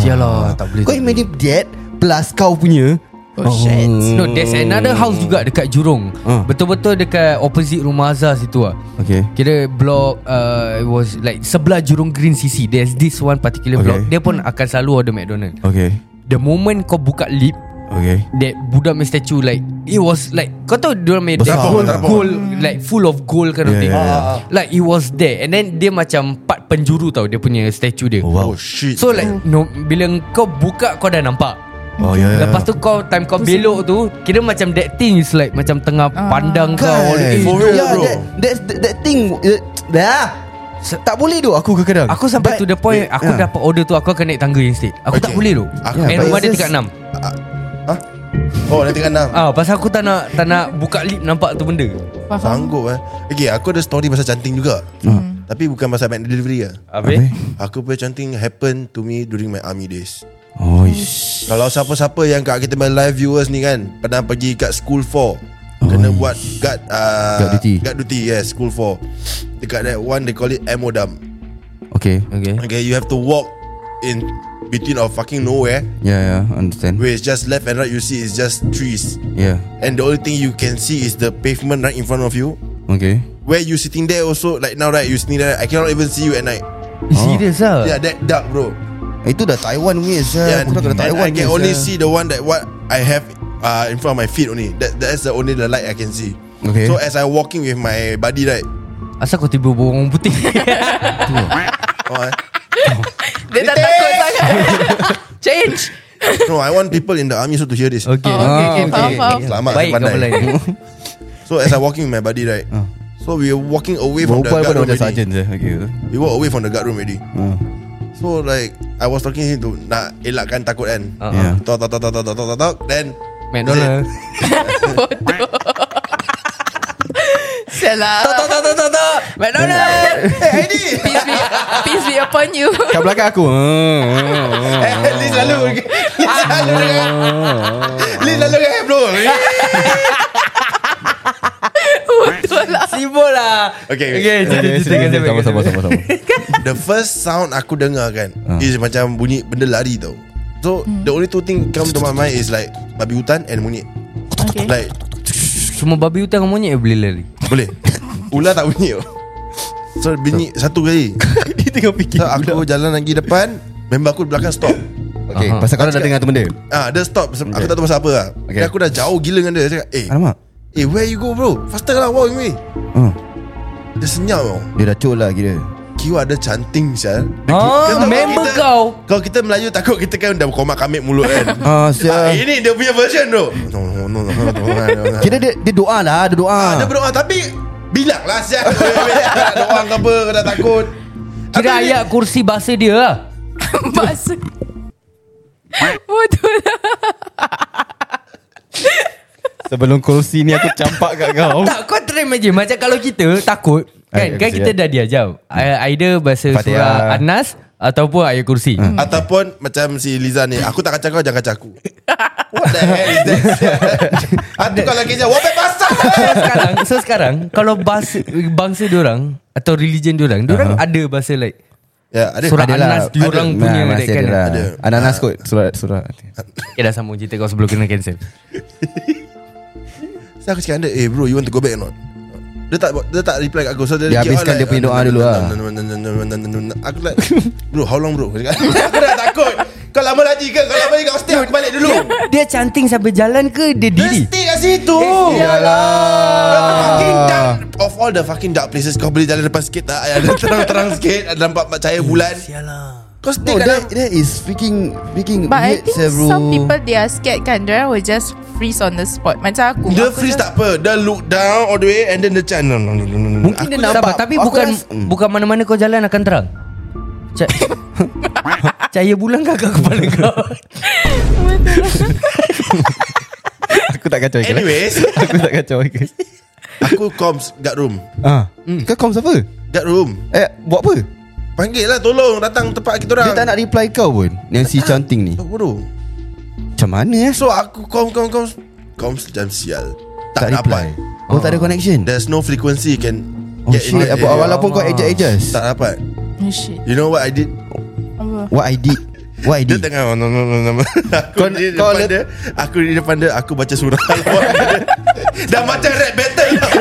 Speaker 3: Sialah Tak boleh
Speaker 2: Kau imagine that Plus kau punya
Speaker 4: Oh, shit.
Speaker 3: No there's another house juga Dekat Jurong
Speaker 2: Ah.
Speaker 3: Betul-betul dekat Opposite rumah Azhar situ lah
Speaker 2: Okay.
Speaker 3: Kira blok uh, It was like Sebelah Jurong Green CC There's this one particular
Speaker 2: Okay.
Speaker 3: block Dia pun akan selalu order McDonald
Speaker 2: Okay
Speaker 3: The moment kau buka lip
Speaker 2: Okay
Speaker 3: That Buddha punya statue Like It was like Kau tahu dia punya that
Speaker 5: Berserabut,
Speaker 3: whole
Speaker 5: berserabut.
Speaker 3: gold Like full of gold kind of
Speaker 2: Yeah,
Speaker 3: thing
Speaker 2: yeah,
Speaker 3: Like it was there And then dia macam Part penjuru tau Dia punya statue dia
Speaker 5: Oh shit
Speaker 3: So like no, Bila kau buka Kau dah nampak
Speaker 2: Oh yeah, yeah.
Speaker 3: Lepas tu kau Time kau belok tu Kira macam that thing Is like macam tengah Pandang kau all
Speaker 2: Kan.
Speaker 3: the way.
Speaker 5: For real,
Speaker 2: yeah,
Speaker 5: bro.
Speaker 2: That, that, that, that thing eh, Dah tak boleh tu aku kadang-kadang
Speaker 3: Aku sampai
Speaker 2: But-
Speaker 3: to the point Aku
Speaker 2: Yeah.
Speaker 3: dapat order tu Aku akan naik tangga instead Aku tak
Speaker 5: Okay.
Speaker 3: boleh tu
Speaker 5: Aku-
Speaker 3: And
Speaker 2: Yeah,
Speaker 3: rumah
Speaker 2: but
Speaker 3: dia
Speaker 2: it's
Speaker 3: tingkat
Speaker 2: just-
Speaker 3: 6
Speaker 5: Hah? Oh dah tengah enam
Speaker 3: Ah, pasal aku tak nak tak nak buka lip nampak tu benda.
Speaker 4: Faham?
Speaker 5: Sanggup eh Okay aku ada story Pasal canting juga
Speaker 3: Hmm.
Speaker 5: Tapi bukan pasal Mac delivery lah
Speaker 3: Habis?
Speaker 5: Aku punya canting Happen to me During my army days
Speaker 2: Oh ish.
Speaker 5: Kalau siapa-siapa yang kat kita main live viewers ni kan Pernah pergi kat school 4 Kena buat guard uh,
Speaker 2: Guard duty.
Speaker 5: Guard duty yes school 4 Dekat that one they call it ammo dump
Speaker 2: Okay
Speaker 3: Okay.
Speaker 5: Okay you have to walk in between of fucking nowhere
Speaker 2: Yeah yeah understand
Speaker 5: Where it's just left and right you see is just trees
Speaker 2: Yeah
Speaker 5: And the only thing you can see is the pavement right in front of you
Speaker 2: Okay
Speaker 5: Where you sitting there also like now right you sitting there I cannot even see you at night
Speaker 3: Serius ah.
Speaker 2: Uh.
Speaker 5: Yeah that dark bro
Speaker 2: Itu dah Taiwan punya
Speaker 5: Yeah,
Speaker 2: yeah, Budak kena
Speaker 5: and
Speaker 2: Taiwan
Speaker 5: I can only see the one that what I have uh, in front of my feet only. That that's the only the light I can see.
Speaker 2: Okay.
Speaker 5: So as I walking with my buddy right,
Speaker 3: Asal kau tiba borong putih.
Speaker 5: oh, I,
Speaker 4: Dia tak takut sangat. Change.
Speaker 5: no, I want people in the army so to hear this.
Speaker 3: okay.
Speaker 4: Oh, okay, okay. Faham, faham.
Speaker 5: Selamat
Speaker 3: Baik
Speaker 5: pandai.
Speaker 3: kau mulai.
Speaker 5: So as I walking with my buddy right,
Speaker 2: Oh.
Speaker 5: so we were walking away from the guard
Speaker 2: Berubah pun
Speaker 5: room
Speaker 2: macam
Speaker 5: already.
Speaker 2: sergeant je Okay Ah.
Speaker 5: We walk away from the guard room already. So like I was talking to him to nak elakkan takut kan.
Speaker 3: Ah,
Speaker 2: Yeah.
Speaker 5: Talk talk talk talk talk talk talk, talk then
Speaker 3: McDonald.
Speaker 4: Salah.
Speaker 3: Tak tak tak tak tak. McDonald.
Speaker 4: Peace be, peace be upon you.
Speaker 2: Kat belakang aku Ah,
Speaker 5: Eh, Lee selalu
Speaker 2: Oh.
Speaker 5: Lee selalu dengan Lee selalu dengan bro
Speaker 4: Betul lah.
Speaker 3: Sibuk lah.
Speaker 5: Okay,
Speaker 3: Okay, cerita cerita kata
Speaker 2: Eh, Sama sama sama sama
Speaker 5: The first sound aku dengar kan uh. Is macam bunyi benda lari tau So
Speaker 3: Hmm.
Speaker 5: the only two thing Come to my mind is like Babi hutan and monyet
Speaker 3: Eh?
Speaker 4: Okay.
Speaker 5: Like
Speaker 3: Semua babi hutan dengan monyet boleh lari.
Speaker 5: Boleh Ular tak bunyi tau So bunyi satu kali
Speaker 2: Dia tengah fikir
Speaker 5: So aku jalan lagi depan Member aku di belakang stop
Speaker 2: Okay
Speaker 3: Aha.
Speaker 2: pasal kau dah dengar tu benda
Speaker 5: Ah, Dia stop Sebab Aku tak tahu pasal apa lah
Speaker 2: Okay.
Speaker 5: okay. Aku dah jauh gila dengan dia Dia cakap Eh
Speaker 2: Alamak
Speaker 5: Eh where you go bro Faster lah walk with me
Speaker 2: Hmm.
Speaker 5: Dia senyap tau
Speaker 2: Dia dah col lah kira
Speaker 5: Kiwa ada canting sial Kau
Speaker 3: Ah,
Speaker 5: tahu
Speaker 3: member
Speaker 5: kita-
Speaker 3: kau.
Speaker 5: Kalau kita Melayu takut Kita kan dah komak kamik mulut kan Ah,
Speaker 2: Ah, sial.
Speaker 5: ini dia punya version tu. No, no, no, no, no, no, no.
Speaker 2: Kira dia, dia doa lah Dia doa
Speaker 5: Ah, dia berdoa tapi bilang lah siapa nak doa ke apa kau dah takut.
Speaker 3: Kira
Speaker 5: Tapi-
Speaker 3: ayat kursi bahasa dia lah.
Speaker 4: Bahasa. Betul lah.
Speaker 2: Sebelum kursi ni aku campak kat kau
Speaker 3: Tak kau try imagine Macam kalau kita takut Kan,
Speaker 2: Ayat
Speaker 3: kan
Speaker 2: kursi,
Speaker 3: kita
Speaker 2: kan?
Speaker 3: dah diajar Either bahasa
Speaker 2: Fatihah. Hmm.
Speaker 3: surah Anas Ataupun ayat kursi
Speaker 5: Ataupun macam si Liza ni Aku tak kacau kau Jangan kacau aku What the hell is that Aku kalau kisah Wapet pasal
Speaker 3: so sekarang so sekarang kalau bahasa bangsa diorang atau religion diorang diorang uh-huh. ada bahasa like
Speaker 5: Ya ada
Speaker 3: Surah
Speaker 5: ada
Speaker 3: Anas diorang punya
Speaker 2: lah, nah, masih
Speaker 3: kan?
Speaker 2: ada lah.
Speaker 5: Ada.
Speaker 2: Ananas kot Surat surat
Speaker 3: okay "Eh, dah sambung cerita kau sebelum kena cancel
Speaker 5: So aku cakap dengan dia Eh bro you want to go back or not dia tak dia tak reply kat aku so
Speaker 2: Dia
Speaker 5: fikir,
Speaker 2: habiskan
Speaker 5: oh,
Speaker 2: dia punya doa dulu lah.
Speaker 5: aku like bro how long bro aku cakap, aku dah takut kau lama lagi ke kau lama lagi kau stay aku balik dulu
Speaker 3: dia canting sampai jalan ke dia
Speaker 5: Dia
Speaker 3: diri
Speaker 5: stay kat situ The
Speaker 2: Ah.
Speaker 5: fucking dark Of all the fucking dark places Kau boleh jalan depan sikit tak Yang Ada terang-terang sikit Ada nampak cahaya bulan Kau stay
Speaker 2: No,
Speaker 5: kat dalam
Speaker 2: Oh, that, that is freaking freaking
Speaker 4: But I
Speaker 2: weird
Speaker 4: think
Speaker 2: several.
Speaker 4: some people They are scared kan Dia will just freeze on the spot Macam aku
Speaker 5: Dia
Speaker 4: aku
Speaker 5: freeze
Speaker 4: just-
Speaker 5: tak apa Dia look down all the way And then dia macam no, no, no, no, no.
Speaker 3: Mungkin dia nampak Tapi
Speaker 2: aku
Speaker 3: bukan
Speaker 2: rasa- Hmm.
Speaker 3: Bukan mana-mana kau jalan akan terang Ca- Cahaya bulan kau kat kepala kau
Speaker 2: aku tak kacau Michael, eh.
Speaker 5: Anyways.
Speaker 2: aku tak kacau Michael.
Speaker 5: Aku comms guard room
Speaker 2: Ah.
Speaker 5: Hmm.
Speaker 2: Kau kom siapa?
Speaker 5: Guard room
Speaker 2: Eh, buat apa?
Speaker 5: Panggil lah tolong Datang tempat kita orang
Speaker 2: Dia tak nak reply kau pun Yang si canting ni
Speaker 5: Oh, bodoh
Speaker 2: Macam mana eh
Speaker 5: So aku comms comms comms Comms macam sial Tak,
Speaker 2: Tak reply
Speaker 5: dapat
Speaker 2: Oh tak ada connection
Speaker 5: There's no frequency you can
Speaker 2: Oh
Speaker 5: get in
Speaker 2: shit
Speaker 5: that
Speaker 2: apa,
Speaker 5: area.
Speaker 2: Walaupun kau adjust-adjust
Speaker 5: Tak dapat
Speaker 4: Oh shit
Speaker 5: You know what I did
Speaker 4: Apa
Speaker 2: What I did What I
Speaker 5: Dia
Speaker 2: did
Speaker 5: tengah no, no, no, no. Aku
Speaker 2: Kau-
Speaker 5: di
Speaker 2: kau
Speaker 5: depan
Speaker 2: le-
Speaker 5: dia Aku di depan dia Aku baca surah Al-Baqarah. Dah macam rap battle lah.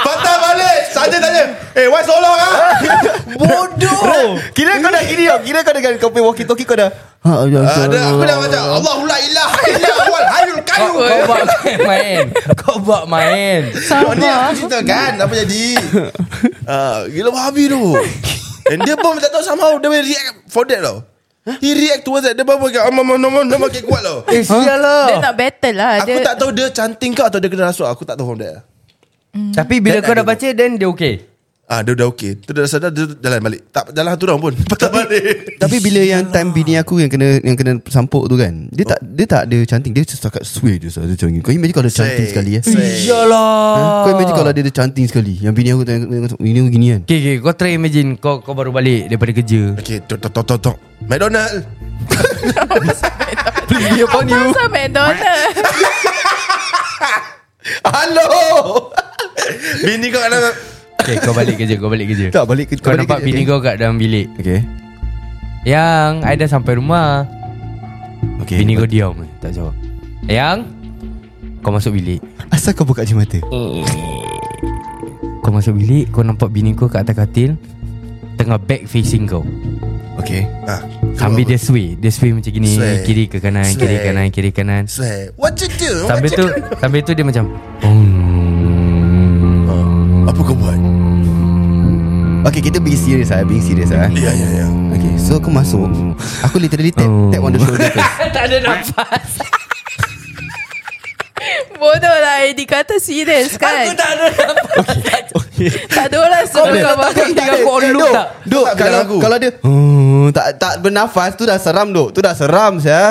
Speaker 5: Patah balik Saja tanya Eh why so long ah
Speaker 2: Bodoh Kira kau dah gini tau Kira kau dengan kau punya walkie talkie kau dah Ha, ya,
Speaker 5: Ah,
Speaker 2: so-
Speaker 5: dia- Aku dah macam Allahu la ilaha illa wal hayyul
Speaker 3: Kau
Speaker 5: qayyum
Speaker 3: kau buat main Kau buat main
Speaker 5: Oh, Ni
Speaker 4: Ah.
Speaker 5: aku cerita kan Apa jadi Ah, Gila babi tu And dia pun tak tahu somehow Dia boleh react for that tau He react towards that Dia pun "Ah, pakai Amam amam amam Makin kuat tau
Speaker 3: Eh sial
Speaker 4: Dia
Speaker 3: lah
Speaker 4: nak battle lah
Speaker 5: Aku
Speaker 4: dia,
Speaker 5: tak tahu dia cantik ke Atau dia kena rasuah Aku tak tahu from that
Speaker 3: Tapi bila kau dah baca Then dia okay
Speaker 5: Ah, dia dah okay Tu dah sadar Dia jalan balik Tak jalan satu round pun Patah balik
Speaker 2: Tapi bila yang time bini aku yang kena yang kena sampuk tu kan, dia tak dia tak ada cantik, dia setakat sway je saja cantik. Kau imagine kalau dia cantik
Speaker 5: Sway,
Speaker 2: sekali eh.
Speaker 5: sway.
Speaker 2: Ha?
Speaker 3: Iyalah
Speaker 2: Kau imagine kalau dia ada cantik sekali. Yang bini aku tanya bini aku gini kan.
Speaker 3: Okay, okay. Kau try imagine Kau kau baru balik daripada kerja
Speaker 5: Okay Tok tok tok tok tok McDonald
Speaker 2: Please be upon
Speaker 4: Apa pasal McDonald
Speaker 2: Hello.
Speaker 5: Bini kau kan
Speaker 3: Okay kau balik kerja Kau balik kerja
Speaker 2: Tak balik ke
Speaker 3: Kau nampak bini kau kat dalam bilik
Speaker 2: Okay.
Speaker 3: Yang I dah sampai rumah
Speaker 2: Okay.
Speaker 3: Bini kau diam eh, Tak jawab Yang Kau masuk bilik
Speaker 2: Asal kau buka je mata?
Speaker 3: Kau masuk bilik Kau nampak bini kau kat atas katil Tengah back facing kau
Speaker 2: Okay.
Speaker 5: ah,
Speaker 3: Sambil dia sway Dia sway macam gini
Speaker 5: Sway.
Speaker 3: Kiri ke kanan
Speaker 5: Sway.
Speaker 3: Kiri kanan Kiri kanan
Speaker 5: Say What you do What
Speaker 3: Sambil
Speaker 5: you
Speaker 3: tu
Speaker 5: do?
Speaker 3: Sambil tu dia macam
Speaker 5: Apa kau buat
Speaker 3: Hmm.
Speaker 2: Okay, kita being serious lah. Being serious lah.
Speaker 5: Ya ya ya
Speaker 2: Okay, so aku masuk. Aku literally tap,
Speaker 3: Oh.
Speaker 2: tap on the shoulder first.
Speaker 3: Tak ada nafas
Speaker 4: Bodoh lah Eddie kata serious kan
Speaker 3: Tak ada nafas
Speaker 4: Tak ada orang suruh kau
Speaker 3: tak,
Speaker 4: makan
Speaker 3: tak. Tinggal kau on loop
Speaker 2: Dok,
Speaker 3: tak?
Speaker 2: Dok,
Speaker 5: Tak
Speaker 2: kalau
Speaker 5: bilang aku.
Speaker 2: kalau dia hmm, tak tak bernafas tu dah seram dok. Tu dah seram saya.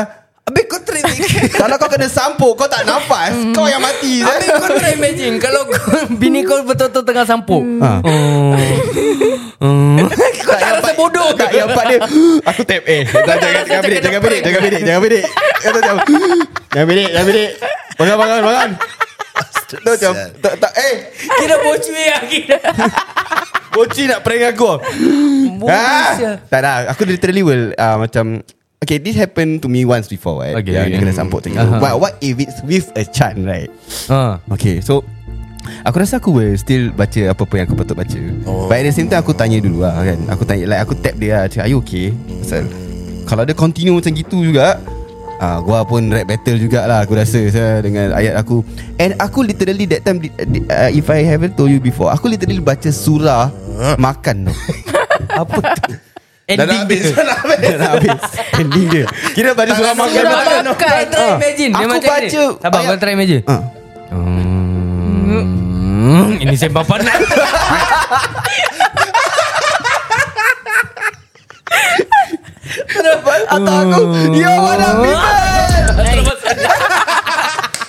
Speaker 3: Habis kau try
Speaker 2: kalau kau kena sampuk kau tak nafas, kau yang mati
Speaker 3: Hmm. Habis
Speaker 2: saya.
Speaker 3: kau try imagine Kalau kau, bini kau betul-betul tengah sampuk
Speaker 2: Ha.
Speaker 3: Kau tak rasa bodoh ke?
Speaker 2: Tak yang part dia Aku tap eh Jangan jangan- jangan bidik Jangan bidik Jangan bidik Jangan bidik Kata macam Jangan bidik Jangan bidik Bangun bangun bangun Tu macam tak, tak, Eh
Speaker 3: Kira bocui lah kira
Speaker 2: Boci nak prank aku ah,
Speaker 4: ya.
Speaker 2: Tak dah Aku literally will uh, Macam Okay this happened to me once before right?
Speaker 3: Okay,
Speaker 2: Yang
Speaker 3: okay.
Speaker 2: dia kena sampuk tengok
Speaker 3: Aha.
Speaker 2: But what if it's with a chan right
Speaker 3: Ah.
Speaker 2: Okay so Aku rasa aku will still baca apa-apa yang aku patut baca
Speaker 5: Oh.
Speaker 2: oh. But at the same time aku tanya dulu lah kan Aku tanya like aku tap dia lah Cakap are you okay? Pasal kalau dia continue macam gitu juga Ah, gua pun rap battle jugalah aku rasa saya dengan ayat aku and aku literally that time di- di- uh, if I haven't told you before aku literally baca surah makan tu
Speaker 3: Apa tu? Eh,
Speaker 5: Dah dah habis Dah dah habis
Speaker 2: dah nak habis ending dia kira baca surah
Speaker 5: Tak,
Speaker 2: makan
Speaker 5: surah
Speaker 2: makan
Speaker 5: makan.
Speaker 2: tu.
Speaker 3: Kau try
Speaker 2: Ah.
Speaker 3: imagine Dia
Speaker 2: Aku
Speaker 3: macam ni.
Speaker 2: baca
Speaker 3: Sabar
Speaker 2: ayat-
Speaker 3: kau try imagine
Speaker 2: Ah.
Speaker 3: Ha. Hmm, Ini sembah panas
Speaker 2: Atau aku Ya Allah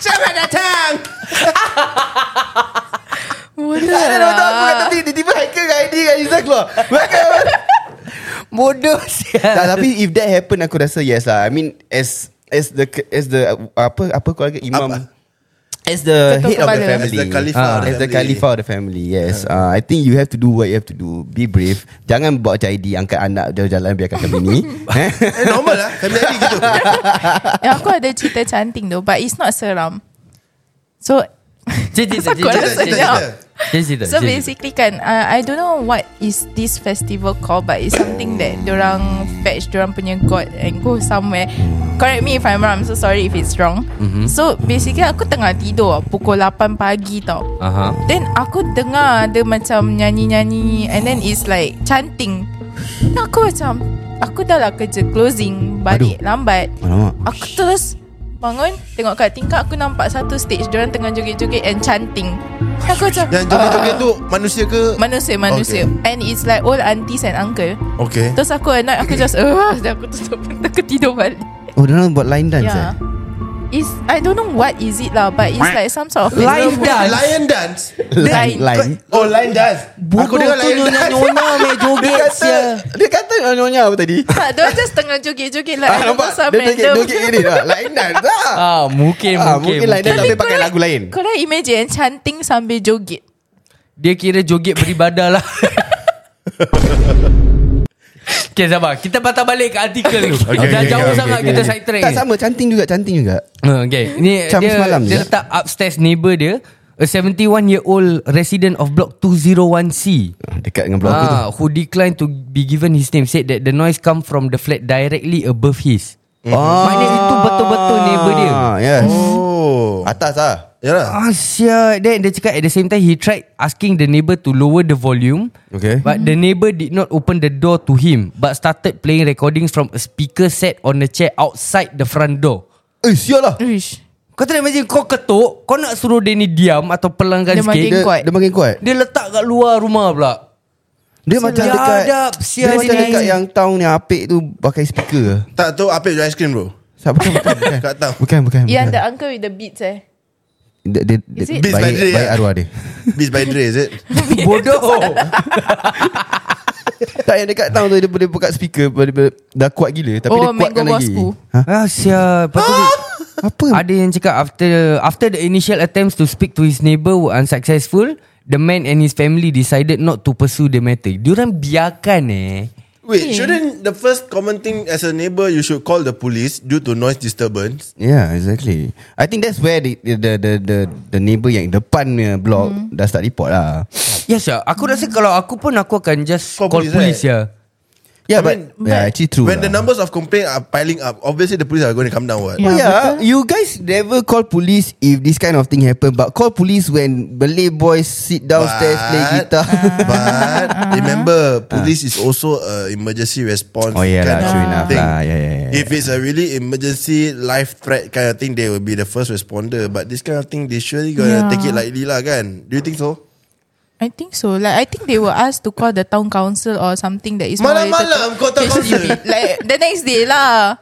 Speaker 5: Siapa datang
Speaker 4: Bodoh
Speaker 2: Tak ada
Speaker 4: lah
Speaker 2: nonton aku kat tepi Tiba-tiba Haikal dengan Aidy Dengan Izzah keluar Welcome Bodoh tak, Tapi if that happen Aku rasa yes lah I mean As As the As the Apa Apa kau lagi Imam
Speaker 5: Apa?
Speaker 2: As the
Speaker 4: Ketua
Speaker 2: head of the
Speaker 4: kepala.
Speaker 2: family Ah.
Speaker 5: As the khalifah of the
Speaker 2: As the
Speaker 5: family.
Speaker 2: khalifah of the family Yes uh, I think you have to do What you have to do Be brave Jangan bawa macam Aidy Angkat anak jalan-jalan Biarkan kat bini Eh?
Speaker 5: Eh normal lah Family ID gitu
Speaker 4: Eh, Aku ada cerita cantik tu But it's not seram So
Speaker 3: Cik cik cik
Speaker 4: Kau rasa
Speaker 5: cerita, cerita.
Speaker 4: senyap
Speaker 3: Dia cerita
Speaker 4: So
Speaker 3: dia cerita.
Speaker 4: basically kan uh, I don't know what is this festival called But it's something that Diorang fetch Diorang punya god And go somewhere Correct me if I'm wrong I'm so sorry if it's wrong mm-hmm. So basically aku tengah tidur Pukul 8 pagi tau
Speaker 3: Aha.
Speaker 4: Then aku dengar Ada macam nyanyi-nyanyi And then it's like Chanting Then aku macam Aku dah lah kerja closing Balik Aduh. lambat
Speaker 2: Alamak.
Speaker 4: Aku terus Bangun Tengok kat tingkap Aku nampak satu stage Diorang tengah joget-joget And chanting Aku macam
Speaker 5: Yang joget-joget tu manusia ke?
Speaker 4: Manusia-manusia okay. And it's like Old aunties and uncle
Speaker 5: Okay.
Speaker 4: Terus aku at night Aku just uh, Then aku tutup pintu Aku tidur balik
Speaker 2: Oh, dia orang buat line dance
Speaker 4: Yeah
Speaker 2: eh?
Speaker 4: It's I don't know what is it lah But it's like some sort of
Speaker 3: Live dance
Speaker 5: Lion dance.
Speaker 4: Line.
Speaker 2: Line.
Speaker 5: Oh, lion dance. aku dengar lion dance.
Speaker 3: main
Speaker 2: Dia kata
Speaker 4: ya.
Speaker 2: Dia kata nyonya apa tadi?
Speaker 4: Tak, dia just tengah joget-joget lah.
Speaker 2: Ah, nampak? Dia joget joget gini lah. Line dance lah.
Speaker 3: Ah, mungkin,
Speaker 2: Ah,
Speaker 3: mungkin,
Speaker 2: mungkin line dance tapi pakai lagu lain.
Speaker 4: Korang imagine chanting sambil joget.
Speaker 3: Dia kira joget beribadah lah Okay sabar Kita patah balik ke artikel tu okay,
Speaker 5: Okay,
Speaker 3: Dah
Speaker 5: okay,
Speaker 3: jauh
Speaker 5: okay,
Speaker 3: sangat
Speaker 5: okay.
Speaker 3: kita side track
Speaker 2: Tak
Speaker 3: ni.
Speaker 2: sama canting juga canting juga.
Speaker 3: Uh, Okay Ni
Speaker 2: Macam
Speaker 3: dia,
Speaker 2: semalam
Speaker 3: dia
Speaker 2: je.
Speaker 3: letak upstairs neighbor dia A 71 year old resident of block 201C
Speaker 2: Ah, Dekat dengan blok aku tu.
Speaker 3: ah, Who declined to be given his name Said that the noise come from the flat directly above his
Speaker 2: Ah.
Speaker 3: Maknanya itu betul-betul neighbor dia.
Speaker 2: Yes.
Speaker 5: Oh.
Speaker 2: Atas lah.
Speaker 5: Yalah.
Speaker 3: Ah sial Then dia cakap at the same time He tried asking the neighbor to lower the volume
Speaker 2: Okay.
Speaker 3: But the neighbor did not open the door to him But started playing recordings from a speaker set on a chair outside the front door
Speaker 2: Eh, sial lah.
Speaker 4: Uish.
Speaker 3: Kau tak imagine kau ketuk Kau nak suruh dia ni diam Atau pelanggan
Speaker 4: Dia makin-
Speaker 3: sikit dia,
Speaker 2: Dia,
Speaker 4: kuat.
Speaker 2: dia makin kuat.
Speaker 3: dia letak kat luar rumah pula
Speaker 2: Dia macam
Speaker 3: Sial.
Speaker 2: dekat
Speaker 3: Biadab, sial
Speaker 2: Dia macam
Speaker 3: ni.
Speaker 2: dekat yang town yang apik tu pakai speaker.
Speaker 5: Tak tahu apa yang ice cream bro.
Speaker 2: Tak, bukan, bukan, bukan.
Speaker 5: Kat town.
Speaker 2: Bukan, bukan.
Speaker 4: Yang
Speaker 2: bukan.
Speaker 4: the uncle with the beats eh.
Speaker 2: Dia, dia,
Speaker 4: Is it-
Speaker 2: dia,
Speaker 5: Beats by
Speaker 2: baik,
Speaker 5: Dre,
Speaker 2: baik
Speaker 5: eh?
Speaker 2: arwah dia.
Speaker 5: Beats by Dre is it?
Speaker 3: Bodoh
Speaker 2: tak, yang dekat town tu dia boleh buka speaker. Boleh, boleh, dah kuat gila. Tapi
Speaker 4: Oh,
Speaker 2: dia kuatkan
Speaker 4: Mango
Speaker 2: lagi.
Speaker 4: Bosku.
Speaker 2: Ha?
Speaker 3: Ah sial Lepas tu dia-
Speaker 2: Apa?
Speaker 3: Ada yang cakap after after the initial attempts to speak to his neighbour were unsuccessful, the man and his family decided not to pursue the matter. Diorang biarkan eh.
Speaker 5: Wait, shouldn't the first common thing as a neighbor you should call the police due to noise disturbance?
Speaker 2: Yeah, exactly. I think that's where the the the the, the, the neighbour yang depan punya block dah start report lah.
Speaker 3: Yes sir, Ya, aku rasa kalau aku pun aku akan just
Speaker 5: Call
Speaker 3: call, call
Speaker 5: police,
Speaker 3: police
Speaker 5: right?
Speaker 3: ya.
Speaker 2: Yeah, but, yeah, actually true.
Speaker 5: When
Speaker 2: lah.
Speaker 5: the numbers of complaint are piling up, obviously the police are going to come down. What?
Speaker 2: Yeah, yeah you guys never call police if this kind of thing happen, but call police when Malay boys sit downstairs
Speaker 5: But-
Speaker 2: play guitar.
Speaker 5: But remember, police is also a emergency response.
Speaker 2: Oh, yeah
Speaker 5: kind
Speaker 2: lah,
Speaker 5: of
Speaker 2: true enough
Speaker 5: thing.
Speaker 2: lah. Yeah, yeah, yeah.
Speaker 5: If it's a really emergency life threat kind of thing, they will be the first responder. But this kind of thing, they surely gonna
Speaker 4: Yeah.
Speaker 5: take it lightly lah, kan? Do you think so?
Speaker 4: I think so. Like I think they were asked to call the town council or something that is more related
Speaker 5: Malam-malam kau tak
Speaker 4: to
Speaker 5: concern.
Speaker 4: HDB. like the next day lah.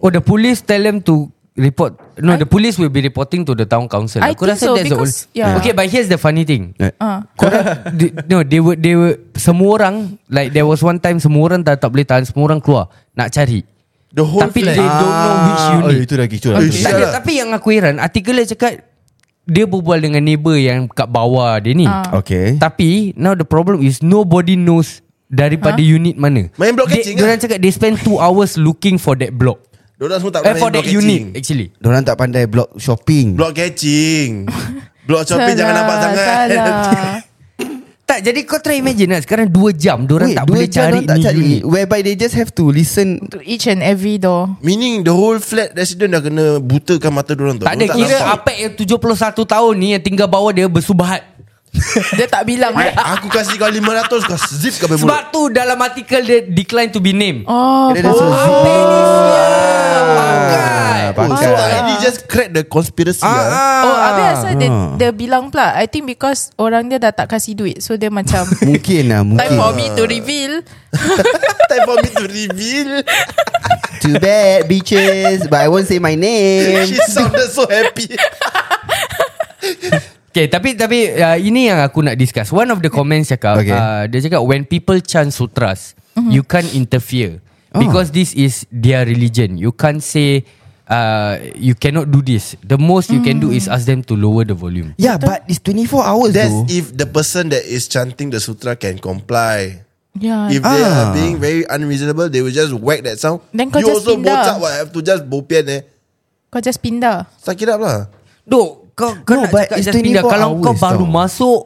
Speaker 3: Oh the police tell them to report. No, I, the police will be reporting to the town council.
Speaker 4: I
Speaker 3: aku
Speaker 4: think
Speaker 3: rasa
Speaker 4: so,
Speaker 3: that's the
Speaker 4: because-
Speaker 3: only-
Speaker 4: yeah.
Speaker 3: Okay, but here's the funny thing.
Speaker 2: Yeah.
Speaker 4: Ah.
Speaker 3: Korang di, No they were, they were Semua orang Like there was one time Semua orang tak, tak boleh tahan Semua orang keluar Nak cari
Speaker 5: The whole
Speaker 3: Tapi
Speaker 5: flat.
Speaker 3: they don't know which
Speaker 2: Ah,
Speaker 3: unit
Speaker 2: Oh, itu lagi, itu lagi.
Speaker 5: Okay.
Speaker 3: Tak
Speaker 2: Itu lagi.
Speaker 5: Sial
Speaker 3: ada,
Speaker 5: lah.
Speaker 3: tapi yang aku heran Artikel dia cakap Dia berbual dengan neighbour Yang kat bawah dia ni
Speaker 4: Ah.
Speaker 2: Okay.
Speaker 3: Tapi Now the problem is Nobody knows Daripada unit mana
Speaker 5: Main block catching
Speaker 3: Diorang cakap They spend 2 hours Looking for that block
Speaker 5: Diorang semua tak
Speaker 3: Eh
Speaker 5: pandai
Speaker 3: for that
Speaker 5: block catching.
Speaker 3: unit Actually
Speaker 2: Diorang tak pandai block shopping.
Speaker 5: Block catching. block shopping jangan nampak sangat.
Speaker 4: Salah.
Speaker 3: Tak jadi kau try imagine lah Sekarang 2 jam Diorang
Speaker 2: Wait,
Speaker 3: tak
Speaker 2: dua
Speaker 3: boleh
Speaker 2: jam
Speaker 3: cari
Speaker 2: diorang tak
Speaker 3: ni
Speaker 2: cari.
Speaker 3: unit
Speaker 2: Whereby they just have to listen.
Speaker 4: to each and every door.
Speaker 5: Meaning the whole flat resident dah kena butakan mata diorang tu.
Speaker 3: Tak ada
Speaker 5: Diorang
Speaker 3: kira
Speaker 5: nampak.
Speaker 3: apa yang 71 tahun ni Yang tinggal bawah dia bersubahat
Speaker 4: Dia Ah. tak bilang.
Speaker 5: Aku kasih kau 500 Kau zip kau mulut
Speaker 3: Sebab tu dalam artikel dia Decline to be named
Speaker 4: Oh,
Speaker 2: Dia dah suruh zip.
Speaker 3: Pakai
Speaker 2: Ah,
Speaker 5: Oh, So
Speaker 2: Pakai.
Speaker 5: I just crack the conspiracy
Speaker 3: Ya.
Speaker 5: ah, ah.
Speaker 4: Oh, habis asal dia,
Speaker 3: Hmm.
Speaker 4: dia bilang pula. I think because orang dia dah tak kasi duit. So dia macam
Speaker 2: Mungkin lah,
Speaker 4: time
Speaker 2: mungkin.
Speaker 4: for me to reveal.
Speaker 5: Time for me to reveal
Speaker 2: Too bad, bitches. But I won't say my name.
Speaker 5: She sounded so happy
Speaker 3: Okay tapi tapi uh, ini yang aku nak discuss. One of the comments cakap okay.
Speaker 2: Okay.
Speaker 3: uh, dia cakap when people chant sutras mm-hmm. you can't interfere oh. because this is their religion. You can't say uh, you cannot do this. The most you mm. can do is ask them to lower the volume.
Speaker 2: Yeah, but it's 24 hours
Speaker 5: That's
Speaker 2: though.
Speaker 5: if the person that is chanting the sutra can comply
Speaker 4: Yeah.
Speaker 5: If they are
Speaker 2: Ah.
Speaker 5: being very unreasonable They will just whack that sound
Speaker 4: Then kau
Speaker 5: You
Speaker 4: just
Speaker 5: also
Speaker 4: pindah.
Speaker 5: bocak what Have to just bopian eh
Speaker 4: Kau just pindah.
Speaker 5: Suck it up lah
Speaker 3: Dok kau kau no, nak
Speaker 2: No, but
Speaker 3: cakap
Speaker 2: it's
Speaker 3: just pindah
Speaker 2: 24
Speaker 3: kalau kau
Speaker 2: hours
Speaker 3: baru
Speaker 2: tau.
Speaker 3: masuk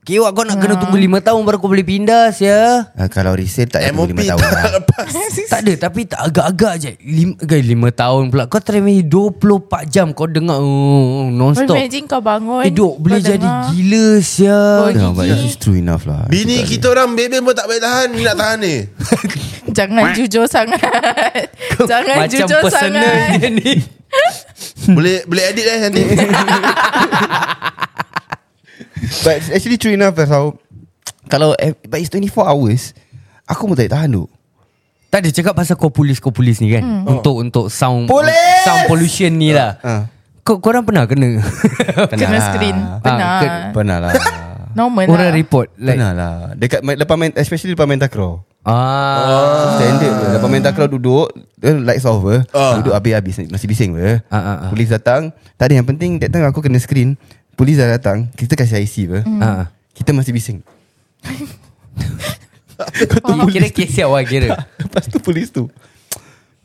Speaker 3: Kewak kau nak kena tunggu 5 tahun baru kau boleh pindah sia.
Speaker 2: Ah, kalau resale tak payah
Speaker 5: MOP
Speaker 2: tunggu 5 tahun
Speaker 5: tak
Speaker 2: lah.
Speaker 5: lepas
Speaker 3: tak ada tapi tak agak-agak je. Lim, guys 5 tahun pula kau try main 24 jam kau dengar oh, non
Speaker 4: Kau
Speaker 3: stop.
Speaker 4: imagine kau bangun
Speaker 3: Eh dok boleh
Speaker 4: kau
Speaker 3: jadi
Speaker 4: dengar.
Speaker 3: gila sia.
Speaker 4: Boleh.
Speaker 2: No, but this is true enough lah.
Speaker 5: Bini kita orang Bebel pun tak boleh tahan Ni nak tahan ni
Speaker 4: Jangan jujur sangat Jangan
Speaker 3: Macam
Speaker 4: jujur
Speaker 3: personal
Speaker 4: sangat
Speaker 3: dia ni.
Speaker 5: Boleh boleh edit eh nanti
Speaker 2: But it's actually true enough that's how kalau eh, but it's 24 hours aku pun tak tahan tu.
Speaker 3: Tak ada cakap pasal kau polis-kau polis ni kan.
Speaker 4: Hmm.
Speaker 3: Untuk untuk sound
Speaker 2: Polis!
Speaker 3: sound pollution ni lah.
Speaker 2: Ah.
Speaker 3: Kau korang pernah kena
Speaker 4: Kena screen Pernah
Speaker 3: Ah, ke-
Speaker 2: lah. Pernah lah.
Speaker 4: Normal
Speaker 3: orang
Speaker 4: lah
Speaker 3: report like
Speaker 2: Pernah lah. Dekat main- lepas main especially lepas main takraw.
Speaker 3: ah
Speaker 2: Standard je Lepas main takraw duduk eh, Lights off eh.
Speaker 5: Ah.
Speaker 2: Duduk habis-habis Masih bising eh.
Speaker 3: Ah, ah, ah.
Speaker 2: Polis datang Tak ada yang penting That time aku kena screen Polis dah datang Kita kasih IC apa
Speaker 3: Ah.
Speaker 2: Kita masih bising Oh.
Speaker 3: Kira kesian awak lah, kira
Speaker 2: Lepas tu polis tu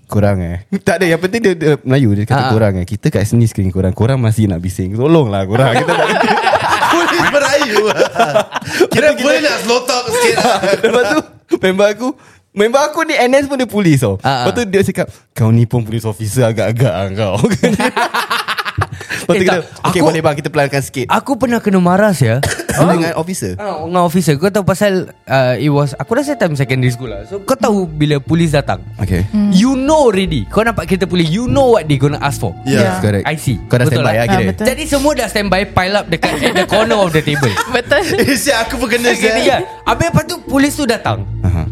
Speaker 2: Korang eh Tak ada yang penting dia, dia Melayu Dia
Speaker 3: Ah, ah.
Speaker 2: kata korang eh Kita kat sini screen korang Korang masih nak bising Tolonglah korang Kita tak
Speaker 5: Boleh merayu Kira boleh nak slow talk sikit lah.
Speaker 2: Lepas tu Member aku Member aku ni NS pun dia polis tau
Speaker 3: Ah, ah.
Speaker 2: Lepas tu dia cakap Kau ni pun polis officer Agak-agak ah, kau Lepas tu
Speaker 3: Eh,
Speaker 2: kita
Speaker 3: tak. Aku-
Speaker 2: Okay
Speaker 3: Ah.
Speaker 2: boleh bang Kita pelankan sikit
Speaker 3: Aku pernah kena marah ya Ah,
Speaker 2: Dengan officer
Speaker 3: Dengan officer Kau tahu pasal uh, It was Aku rasa time secondary school lah So kau tahu Bila polis datang
Speaker 2: Okay
Speaker 4: Hmm.
Speaker 3: You know already Kau nampak kereta polis You know what they gonna ask for
Speaker 5: Yeah.
Speaker 2: Yes Ya. correct
Speaker 3: I see.
Speaker 2: Kau dah
Speaker 3: Betul
Speaker 2: standby
Speaker 3: lah.
Speaker 4: Ah,
Speaker 2: lah kira
Speaker 4: betul.
Speaker 3: Jadi semua dah standby Pile up dekat At the corner of the table
Speaker 4: Betul
Speaker 5: Eh siap aku pun kena siap
Speaker 3: Ya Habis lepas tu Polis tu datang
Speaker 2: Aha.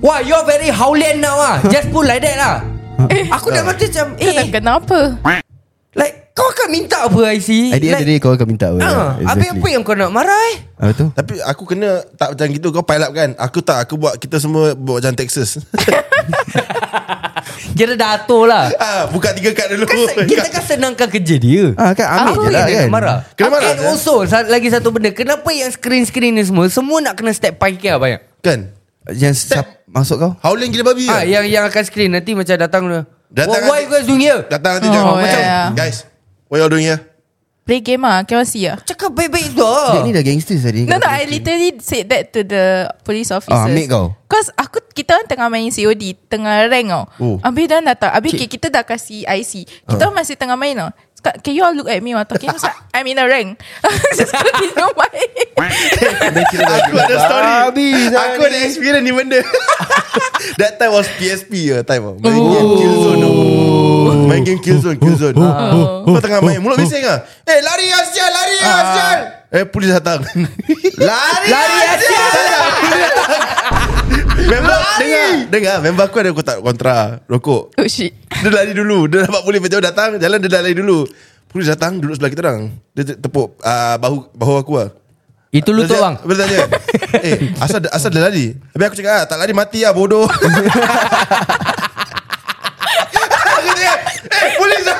Speaker 3: Wah you're very howland now ah Just put like that lah
Speaker 2: Uh-huh.
Speaker 3: Aku dah macam macam
Speaker 4: Kau dah
Speaker 3: Eh
Speaker 4: kenapa
Speaker 3: Like kau akan minta apa IC
Speaker 2: At the end of the day Kau akan minta apa Ah,
Speaker 3: Ah, Habis apa yang kau nak marah eh
Speaker 2: Apa tu
Speaker 5: Tapi aku kena Tak macam gitu Kau pile up kan Aku tak Aku buat kita semua Buat macam Texas
Speaker 3: Kira dah atur lah
Speaker 5: ah, Buka tiga kad dulu
Speaker 3: Kan se- Kita kan senangkan kerja dia
Speaker 2: Ah, kan ambil
Speaker 3: Apa
Speaker 2: je lah
Speaker 3: yang dia
Speaker 2: kan
Speaker 3: nak marah
Speaker 5: Kena marah
Speaker 3: And
Speaker 5: je.
Speaker 3: also sa- Lagi satu benda Kenapa yang screen-screen ni semua Semua nak kena step pancake lah banyak
Speaker 5: Kan
Speaker 2: Yang siap masuk kau
Speaker 5: Howling gila babi ah,
Speaker 3: Ah, yang yang akan screen Nanti macam datang dia
Speaker 5: Datang
Speaker 3: What, what
Speaker 5: nanti-
Speaker 3: you guys doing here
Speaker 5: Datang nanti
Speaker 4: Oh,
Speaker 5: jangan Macam
Speaker 3: ya.
Speaker 4: yeah.
Speaker 5: Guys What you all doing here
Speaker 4: Play game ah KLC ah
Speaker 3: Cakap baik-baik tu
Speaker 2: Dia ni dah gangster tadi
Speaker 4: No no I literally said that to the police officers.
Speaker 2: Ah, ambil kau.
Speaker 4: Cause aku kita orang tengah main COD, tengah rank tau.
Speaker 5: Oh.
Speaker 4: Oh. Ambil dah datang. Habis okay. kita dah kasi IC.
Speaker 2: Ah.
Speaker 4: Kita uh. masih tengah main tau. Cakap, can you all look at me while talking? Cause I'm in a rank. Just continue main.
Speaker 5: Aku ada story
Speaker 2: Babi,
Speaker 5: Aku ada experience ni benda That time was PSP ya Time tau. Main game Killzone tau. Main game Killzone Killzone Ah. Kau tengah main Mulut bising ah. Eh lari Azjal Lari Azjal Eh polis datang Lari Lari Azjal Member Dengar Dengar Member aku ada kotak kontra Rokok
Speaker 4: oh shit.
Speaker 5: dia lari dulu Dia nampak polis macam datang Jalan dia dah lari dulu Polis datang Duduk sebelah kita orang Dia te- tepuk uh, bahu bahu aku lah
Speaker 3: Itu lutut bang
Speaker 5: Dia tanya Eh asal, asal dia lari Habis aku cakap ah, Tak lari mati lah bodoh Aku cakap Eh polis lah